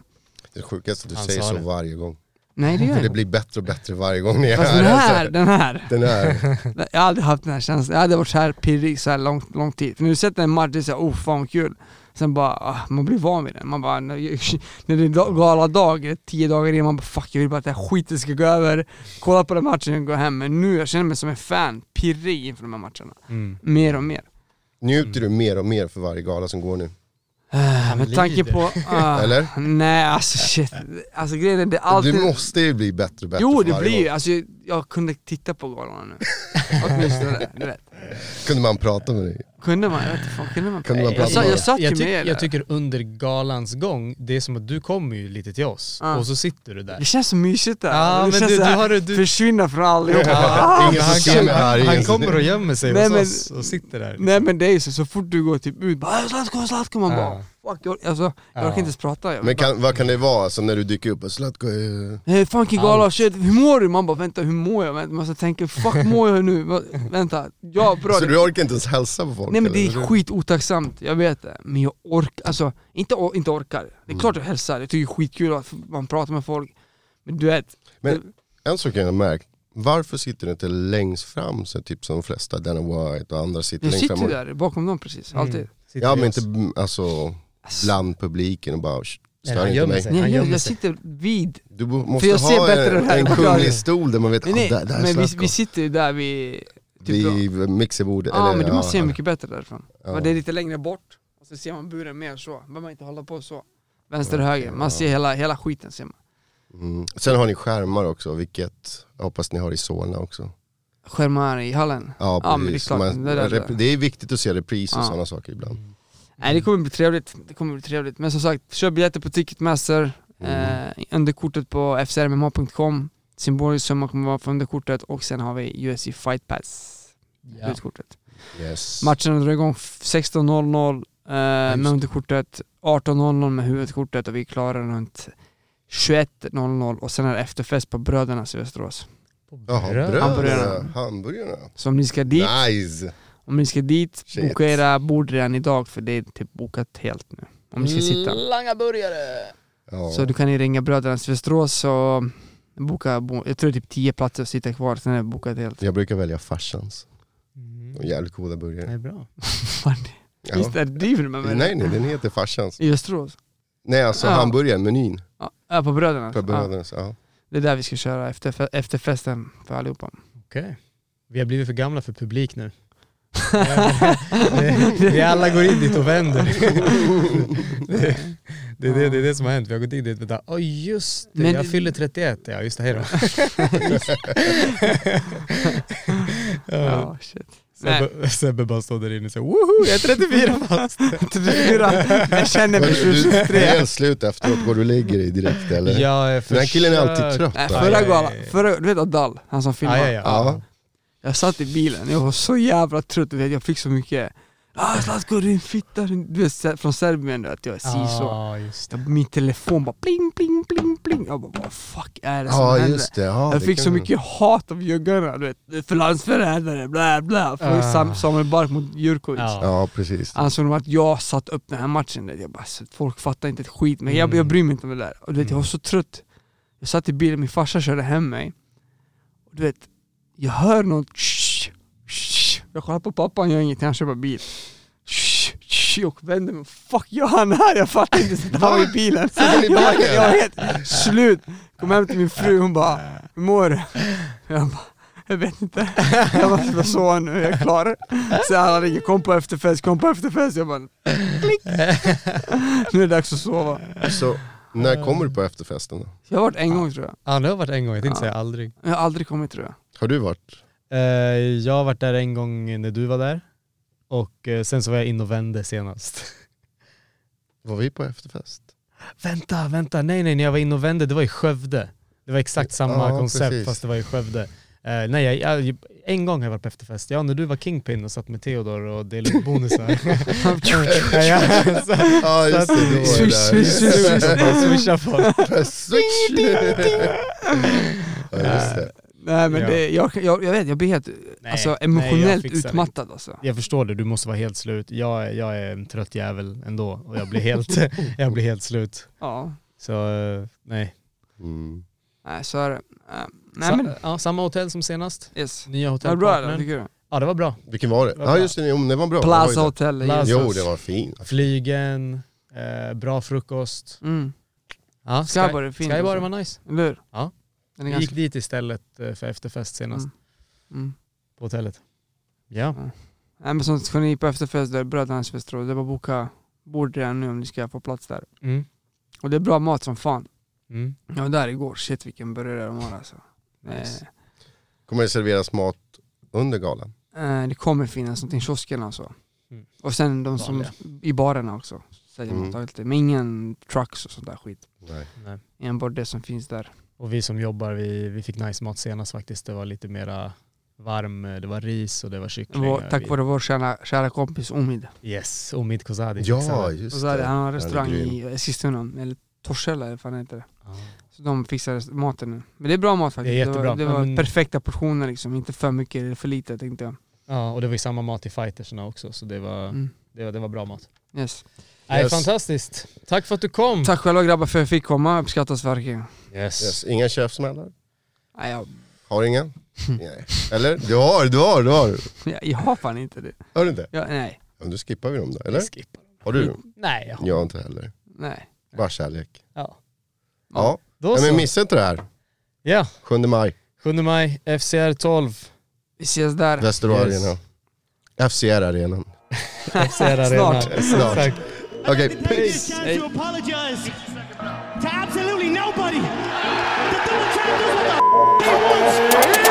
Speaker 5: Det sjukaste att du
Speaker 4: Han
Speaker 5: säger
Speaker 4: sa
Speaker 5: så
Speaker 4: det. Mm.
Speaker 5: varje gång.
Speaker 6: Nej det
Speaker 5: För
Speaker 6: gör jag
Speaker 5: det
Speaker 6: inte.
Speaker 5: blir bättre och bättre varje gång ni är
Speaker 6: Fast den
Speaker 5: här.
Speaker 6: här,
Speaker 5: Alltså.
Speaker 6: den här.
Speaker 5: Den här.
Speaker 6: Jag har aldrig haft den här känslan. Jag hade varit så här pirrig så här lång, lång tid. För när du sätter en match, det är såhär oh fan vad kul. Sen bara, ah, man blir van vid den. Man bara, när när det är da- galadag, det är tio dagar in, man bara fuck jag vill bara att det här skiten ska gå över. Kolla på den matchen och gå hem. Men nu, jag känner mig som en fan, pirrig inför de här matcherna.
Speaker 4: Mm.
Speaker 6: Mer och mer.
Speaker 5: Njuter du mer och mer för varje gala som går nu?
Speaker 6: Ah,
Speaker 4: Han
Speaker 6: med tanke
Speaker 4: lider.
Speaker 6: på... ah,
Speaker 5: Eller?
Speaker 6: Nej alltså shit. Alltså grejen är det är alltid...
Speaker 5: Du måste ju bli bättre och bättre
Speaker 6: jo
Speaker 5: för
Speaker 6: det
Speaker 5: varje
Speaker 6: blir ju,
Speaker 5: gång.
Speaker 6: alltså jag kunde titta på galorna nu. Åtminstone, du vet.
Speaker 5: Kunde man prata med dig?
Speaker 6: Kunde man? Jag vet inte, fan, kunde man?
Speaker 5: Kunde man
Speaker 6: jag,
Speaker 5: prata
Speaker 6: sa,
Speaker 5: med
Speaker 6: jag satt ju
Speaker 4: jag, tyck-
Speaker 6: med er
Speaker 4: jag
Speaker 6: där.
Speaker 4: tycker under galans gång, det är som att du kommer ju lite till oss
Speaker 6: Ja.
Speaker 4: och så sitter du där.
Speaker 6: Det känns så mysigt där.
Speaker 4: Ja,
Speaker 6: det
Speaker 4: men
Speaker 6: känns
Speaker 4: du-
Speaker 6: så
Speaker 4: du
Speaker 6: här,
Speaker 4: har det- du-
Speaker 6: försvinna från Ah. allihopa.
Speaker 5: Ja, ingen som
Speaker 4: han,
Speaker 5: ser mig här,
Speaker 4: han,
Speaker 5: ingen
Speaker 4: han
Speaker 5: som-
Speaker 4: kommer och gömmer sig
Speaker 6: Nej,
Speaker 4: hos
Speaker 6: men-
Speaker 4: oss och sitter där.
Speaker 6: Nej men det är ju så, så fort du går typ ut bara "Äh, Zlatko, Zlatko, man
Speaker 4: Ja.
Speaker 6: bara fuck, jag, alltså, jag
Speaker 4: Ja.
Speaker 6: orkar inte ens prata. Jag
Speaker 5: Men
Speaker 6: bara,
Speaker 5: kan, vad kan det vara alltså, när du dyker upp? och Zlatko, eh,
Speaker 6: Eh, funky gala,
Speaker 4: Allt.
Speaker 6: shit, hur mår du? Man bara vänta, hur mår jag? Vänta, man ska tänka, fuck mår jag nu? Va- Vänta, ja bra.
Speaker 5: Så
Speaker 6: det-
Speaker 5: du orkar inte ens hälsa på folk?
Speaker 6: Nej men det är
Speaker 5: eller?
Speaker 6: skitotacksamt, jag vet det. Men jag orkar, alltså inte, or- inte orkar. Det
Speaker 5: Mm.
Speaker 6: är klart jag hälsar, jag tycker det är skitkul att man pratar med folk. Men du vet,
Speaker 5: Men en sak jag har märkt, varför sitter du inte längst fram så typ som de flesta, Dana White och andra sitter
Speaker 6: jag
Speaker 5: längst
Speaker 6: sitter
Speaker 5: fram?
Speaker 6: ju
Speaker 5: och-
Speaker 6: där bakom dem precis,
Speaker 4: Mm.
Speaker 6: alltid.
Speaker 4: Sitter
Speaker 5: Ja
Speaker 4: vid
Speaker 5: men
Speaker 4: oss.
Speaker 5: inte mm, alltså bland publiken och bara "Sh,
Speaker 4: Nej,
Speaker 5: stör
Speaker 4: han
Speaker 5: inte
Speaker 4: gömmer
Speaker 5: mig.
Speaker 4: sig.
Speaker 6: Nej,
Speaker 4: Han
Speaker 6: jag,
Speaker 4: gömmer
Speaker 6: jag
Speaker 4: sig.
Speaker 6: sitter vid.
Speaker 5: Du bo- måste
Speaker 6: jag ser
Speaker 5: ha
Speaker 6: bättre än
Speaker 5: en,
Speaker 6: det här.
Speaker 5: en kunglig stol där man vet,
Speaker 6: Nej,
Speaker 5: nej,
Speaker 6: nej,
Speaker 5: där, där är
Speaker 6: men vi,
Speaker 5: Zlatko.
Speaker 6: vi sitter ju där vid... Typ då.
Speaker 5: Vid mixerbordet.
Speaker 6: Ja men du
Speaker 5: ja,
Speaker 6: måste se
Speaker 5: här.
Speaker 6: mycket bättre därifrån.
Speaker 5: Ja.
Speaker 6: Och det är lite längre bort, och så ser man buren mer så. Behöver man inte hålla på så. Vänster och höger, man ser hela, hela skiten ser man.
Speaker 5: Mm. Sen har ni skärmar också, vilket jag hoppas ni har i Solna också.
Speaker 6: Skärmar i hallen.
Speaker 5: Ja,
Speaker 6: Ja, men det är
Speaker 5: precis.
Speaker 6: klart.
Speaker 5: Man-
Speaker 6: Det där-
Speaker 5: rep- det är viktigt att se repriser och
Speaker 6: Ja.
Speaker 5: sådana saker ibland.
Speaker 6: Nej
Speaker 5: Mm.
Speaker 6: det kommer bli trevligt, det kommer bli trevligt. Men som sagt, köp biljetter på Ticketmaster,
Speaker 5: Mm.
Speaker 6: eh, underkortet på fcrmma.com, symbolisk summa kommer vara för underkortet och sen har vi UFC Fight Pass,
Speaker 4: Ja.
Speaker 6: slutkortet.
Speaker 5: Yes.
Speaker 6: Matchen drar igång 16.00 eh, med
Speaker 5: det.
Speaker 6: underkortet, 18.00 med huvudkortet och vi är klara runt 21.00 och sen är det efterfest på Brödernas i Västerås.
Speaker 5: Jaha,
Speaker 4: Bröd.
Speaker 5: bröd.
Speaker 6: Hamburgarna.
Speaker 5: Hamburgarna.
Speaker 6: Så om ni ska dit,
Speaker 5: Nice!
Speaker 6: om ni ska dit,
Speaker 5: Shit.
Speaker 6: boka era bord redan idag för det är typ bokat helt nu. Om ni ska sitta.
Speaker 5: Mm. Ja.
Speaker 6: Så du kan ju ringa Brödernas i Västerås och boka, bo- jag tror det är typ 10 platser att sitta kvar, sen är det bokat helt.
Speaker 5: Jag brukar välja farsans.
Speaker 4: Mm.
Speaker 5: De är jävligt goda
Speaker 4: Det
Speaker 5: burgare.
Speaker 4: är bra.
Speaker 6: Fan,
Speaker 5: Ja.
Speaker 6: Visst är det driver du med mig?
Speaker 5: Nej nej, den heter farsans.
Speaker 6: I Västerås?
Speaker 5: Nej alltså
Speaker 6: Ja.
Speaker 5: hamburgaren, menyn.
Speaker 6: Ja, Ja, på Brödernas.
Speaker 5: På
Speaker 6: Ja,
Speaker 5: brödernas. Ja.
Speaker 6: det är där vi ska köra efter, efter festen för allihopa.
Speaker 4: Okej. Vi har blivit för gamla för publik nu. Det- Vi alla går in dit och vänder. Det, det, är det, det är det som har hänt. Vi har gått in dit och bara, åh just det,
Speaker 6: Men
Speaker 4: jag
Speaker 6: det-
Speaker 4: fyller 31. Ja just det, hejdå. ja.
Speaker 6: Ja, shit. Nej.
Speaker 4: Sebbe, Sebbe bara står där inne och säger, woho, jag är 34 fast.
Speaker 6: 34. Jag känner mig
Speaker 5: Du, du, det
Speaker 6: 23.
Speaker 5: är helt slut efteråt, går du och lägger dig direkt eller?
Speaker 4: Jag är
Speaker 5: Den här killen är alltid trött.
Speaker 6: Nej,
Speaker 5: va?
Speaker 4: Aj,
Speaker 6: förra
Speaker 4: aj,
Speaker 6: galan,
Speaker 4: aj.
Speaker 6: förra, du vet Adal, han som filmade.
Speaker 4: Ja, ja, ja.
Speaker 5: Ja.
Speaker 6: Jag satt i bilen, jag var så jävla trött, du vet, jag fick så mycket ah, Zlatko din fitta, du vet se- från Serbien du vet, jag är si så.
Speaker 4: Ja, just det.
Speaker 6: Jag- Min telefon bara pling, pling, pling, pling. Jag bara vad fuck är det som
Speaker 5: Ja
Speaker 6: händer?
Speaker 5: just det. Ja,
Speaker 6: Jag
Speaker 5: det
Speaker 6: fick
Speaker 5: kan
Speaker 6: så
Speaker 5: man-
Speaker 6: mycket hat av juggarna, du vet, "Du är för landsförrädare, bla bla. Från
Speaker 4: Ah.
Speaker 6: Sam- Samuel Bark mot Alltså, Jurkovic.
Speaker 4: Ja.
Speaker 5: Ja precis.
Speaker 6: Ansåg de att jag satt upp den här matchen, du vet. jag bara, så att folk fattar inte ett skit, men jag,
Speaker 4: Mm.
Speaker 6: jag bryr mig inte om det där. Och du vet, jag var så trött. Jag satt i bilen, min farsa körde hem mig. Och du vet, jag hör något "Shh, shh." Jag kollar på pappa, han gör ingenting, han köper bil. "Shh, shh." Och vänder mig, fuck jag han här, jag fattar inte, så han var i bilen.
Speaker 5: var i
Speaker 6: Jag var,
Speaker 5: bilen?
Speaker 6: jag var helt slut. Kom hem till min fru, hon bara, hur mår du? Jag bara, jag vet inte. Jag bara, vad sa han nu? Jag är klar. Så han ringer, kom på efterfest, kom på efterfest. Jag bara, klick. Nu är det dags att sova.
Speaker 5: Så när kommer du på efterfesten då?
Speaker 6: Jag har varit en gång tror jag.
Speaker 4: Ja, det har varit en gång, jag tänkte
Speaker 6: Ja.
Speaker 4: säga aldrig.
Speaker 6: Jag har aldrig kommit tror jag.
Speaker 5: Har du varit?
Speaker 4: Eh, Jag har varit där en gång när du var där. Och eh, sen så var jag in och vände senast.
Speaker 5: Var vi på efterfest?
Speaker 4: Vänta, vänta, nej nej, när jag var inne och vände, det var i Skövde. Det var exakt samma
Speaker 5: Ja,
Speaker 4: koncept
Speaker 5: precis.
Speaker 4: fast det var i Skövde. Eh, nej, jag, jag, en gång har jag varit på efterfest. Ja, när du var Kingpin och satt med Theodor och delade ut bonusar. ja, ja, så,
Speaker 5: Ja just det, då var
Speaker 6: Swish,
Speaker 5: det
Speaker 6: swish, swish.
Speaker 5: där.
Speaker 4: swisha folk.
Speaker 5: Switch! Ja just det.
Speaker 6: Nej men
Speaker 4: Ja.
Speaker 6: det, jag, jag, jag vet, jag blir helt
Speaker 4: Nej,
Speaker 6: alltså,
Speaker 4: nej, jag
Speaker 6: emotionellt
Speaker 4: fixar det.
Speaker 6: utmattad alltså.
Speaker 4: Jag förstår det, du måste vara helt slut. Jag, är- jag är en trött jävel ändå och jag blir helt, jag blir helt slut.
Speaker 6: Ja,
Speaker 4: Så eh, nej.
Speaker 5: Mm.
Speaker 6: nej så är det. Ja. Nej
Speaker 4: Sa,
Speaker 6: men,
Speaker 4: ja, samma hotell som senast.
Speaker 6: yes.
Speaker 4: Nya
Speaker 6: Det var bra eller?
Speaker 4: hotellpartnern.
Speaker 6: Tycker du?
Speaker 4: Ja, det var bra.
Speaker 5: Vilken var det?
Speaker 4: Vad
Speaker 5: Ja
Speaker 4: bra.
Speaker 5: just det, jo, men det var bra. Det var ju
Speaker 6: Plaza
Speaker 5: det.
Speaker 6: Hotel.
Speaker 4: Plaza.
Speaker 6: yes.
Speaker 5: Jo det var fin.
Speaker 4: Flygen, eh, bra frukost.
Speaker 6: Mm,
Speaker 4: Ja,
Speaker 6: Skybar är fint
Speaker 4: Skybar
Speaker 6: också.
Speaker 4: var nice.
Speaker 6: eller hur?
Speaker 4: Ja.
Speaker 6: Den är
Speaker 4: Vi gick
Speaker 6: ganska...
Speaker 4: dit istället eh, för efterfest senast
Speaker 6: Mm. Mm.
Speaker 4: på hotellet. Ja.
Speaker 6: Nej men som ska ni på efterfest, där brödernas fest tror jag. det var boka bord redan nu om ni ska få plats där.
Speaker 4: Mm.
Speaker 6: Och det är bra mat som fan.
Speaker 4: Mm.
Speaker 6: Jag var där igår, shit vilken burgare de har alltså.
Speaker 4: Nice.
Speaker 5: Kommer det serveras mat under galan?
Speaker 6: Eh, eh, det kommer finnas någonting i kioskerna och så.
Speaker 4: Mm.
Speaker 6: Och sen de som i barerna också. Säljer
Speaker 5: Mm.
Speaker 6: mm. lite. Men ingen trucks och sånt där skit.
Speaker 5: Nej.
Speaker 4: Nej.
Speaker 6: Enbart det som finns där.
Speaker 4: Och vi som jobbar, vi, vi fick nice mat senast faktiskt. Det var lite mera varm, eh, det var ris och det var kyckling.
Speaker 6: Vår, tack
Speaker 4: Vi-
Speaker 6: vare vår kära, kära kompis Omid.
Speaker 4: Yes, och Omid Kozadi.
Speaker 5: Ja
Speaker 4: fixade det.
Speaker 5: just
Speaker 6: Och så hade
Speaker 5: det.
Speaker 6: han har en restaurang
Speaker 5: grym.
Speaker 6: i Eskilstuna, eller Torshälla eller vad fan heter det.
Speaker 4: Ja.
Speaker 6: Så de fixar maten nu. Men det är bra mat faktiskt.
Speaker 4: Det är
Speaker 6: var,
Speaker 4: jättebra.
Speaker 6: det var
Speaker 4: Ja, men-
Speaker 6: perfekta portioner liksom, inte för mycket eller för lite tänkte jag.
Speaker 4: ja, och det var ju samma mat i fightersna också så det var,
Speaker 6: Mm.
Speaker 4: det var, det var bra mat.
Speaker 6: Yes.
Speaker 4: Nej,
Speaker 5: Yes.
Speaker 4: fantastiskt. Tack för att du kom.
Speaker 6: Tack själva grabbar för att jag fick komma, uppskattas verkligen.
Speaker 4: Yes.
Speaker 5: Yes. Inga käftsmällar?
Speaker 6: Nej, jag,
Speaker 5: Har ingen? Nej. Eller? Du har, du har, du har.
Speaker 6: jag, jag har fan inte det.
Speaker 5: Har du inte?
Speaker 6: Jag, nej,
Speaker 5: Ja, men då skippar vi dem då,
Speaker 4: Vi
Speaker 5: eller?
Speaker 4: skippar.
Speaker 5: Har du?
Speaker 4: Nej, jag har-
Speaker 5: Jag har inte heller.
Speaker 6: nej.
Speaker 5: Bara kärlek.
Speaker 4: ja.
Speaker 5: Ja,
Speaker 4: Då
Speaker 5: Nej,
Speaker 4: så.
Speaker 5: men missa inte det här.
Speaker 4: Ja,
Speaker 5: 7 maj,
Speaker 4: 7 maj, FCR 12.
Speaker 6: Vi ses där.
Speaker 5: Västerås
Speaker 4: Yes.
Speaker 5: Arena. FCR Arenan.
Speaker 4: FCR Arena.
Speaker 6: Snart.
Speaker 5: Snart.
Speaker 4: Tack.
Speaker 5: Okej,
Speaker 1: to take
Speaker 5: peace!
Speaker 1: this chance to apologize to absolutely nobody. The double champ does what the f- he wants.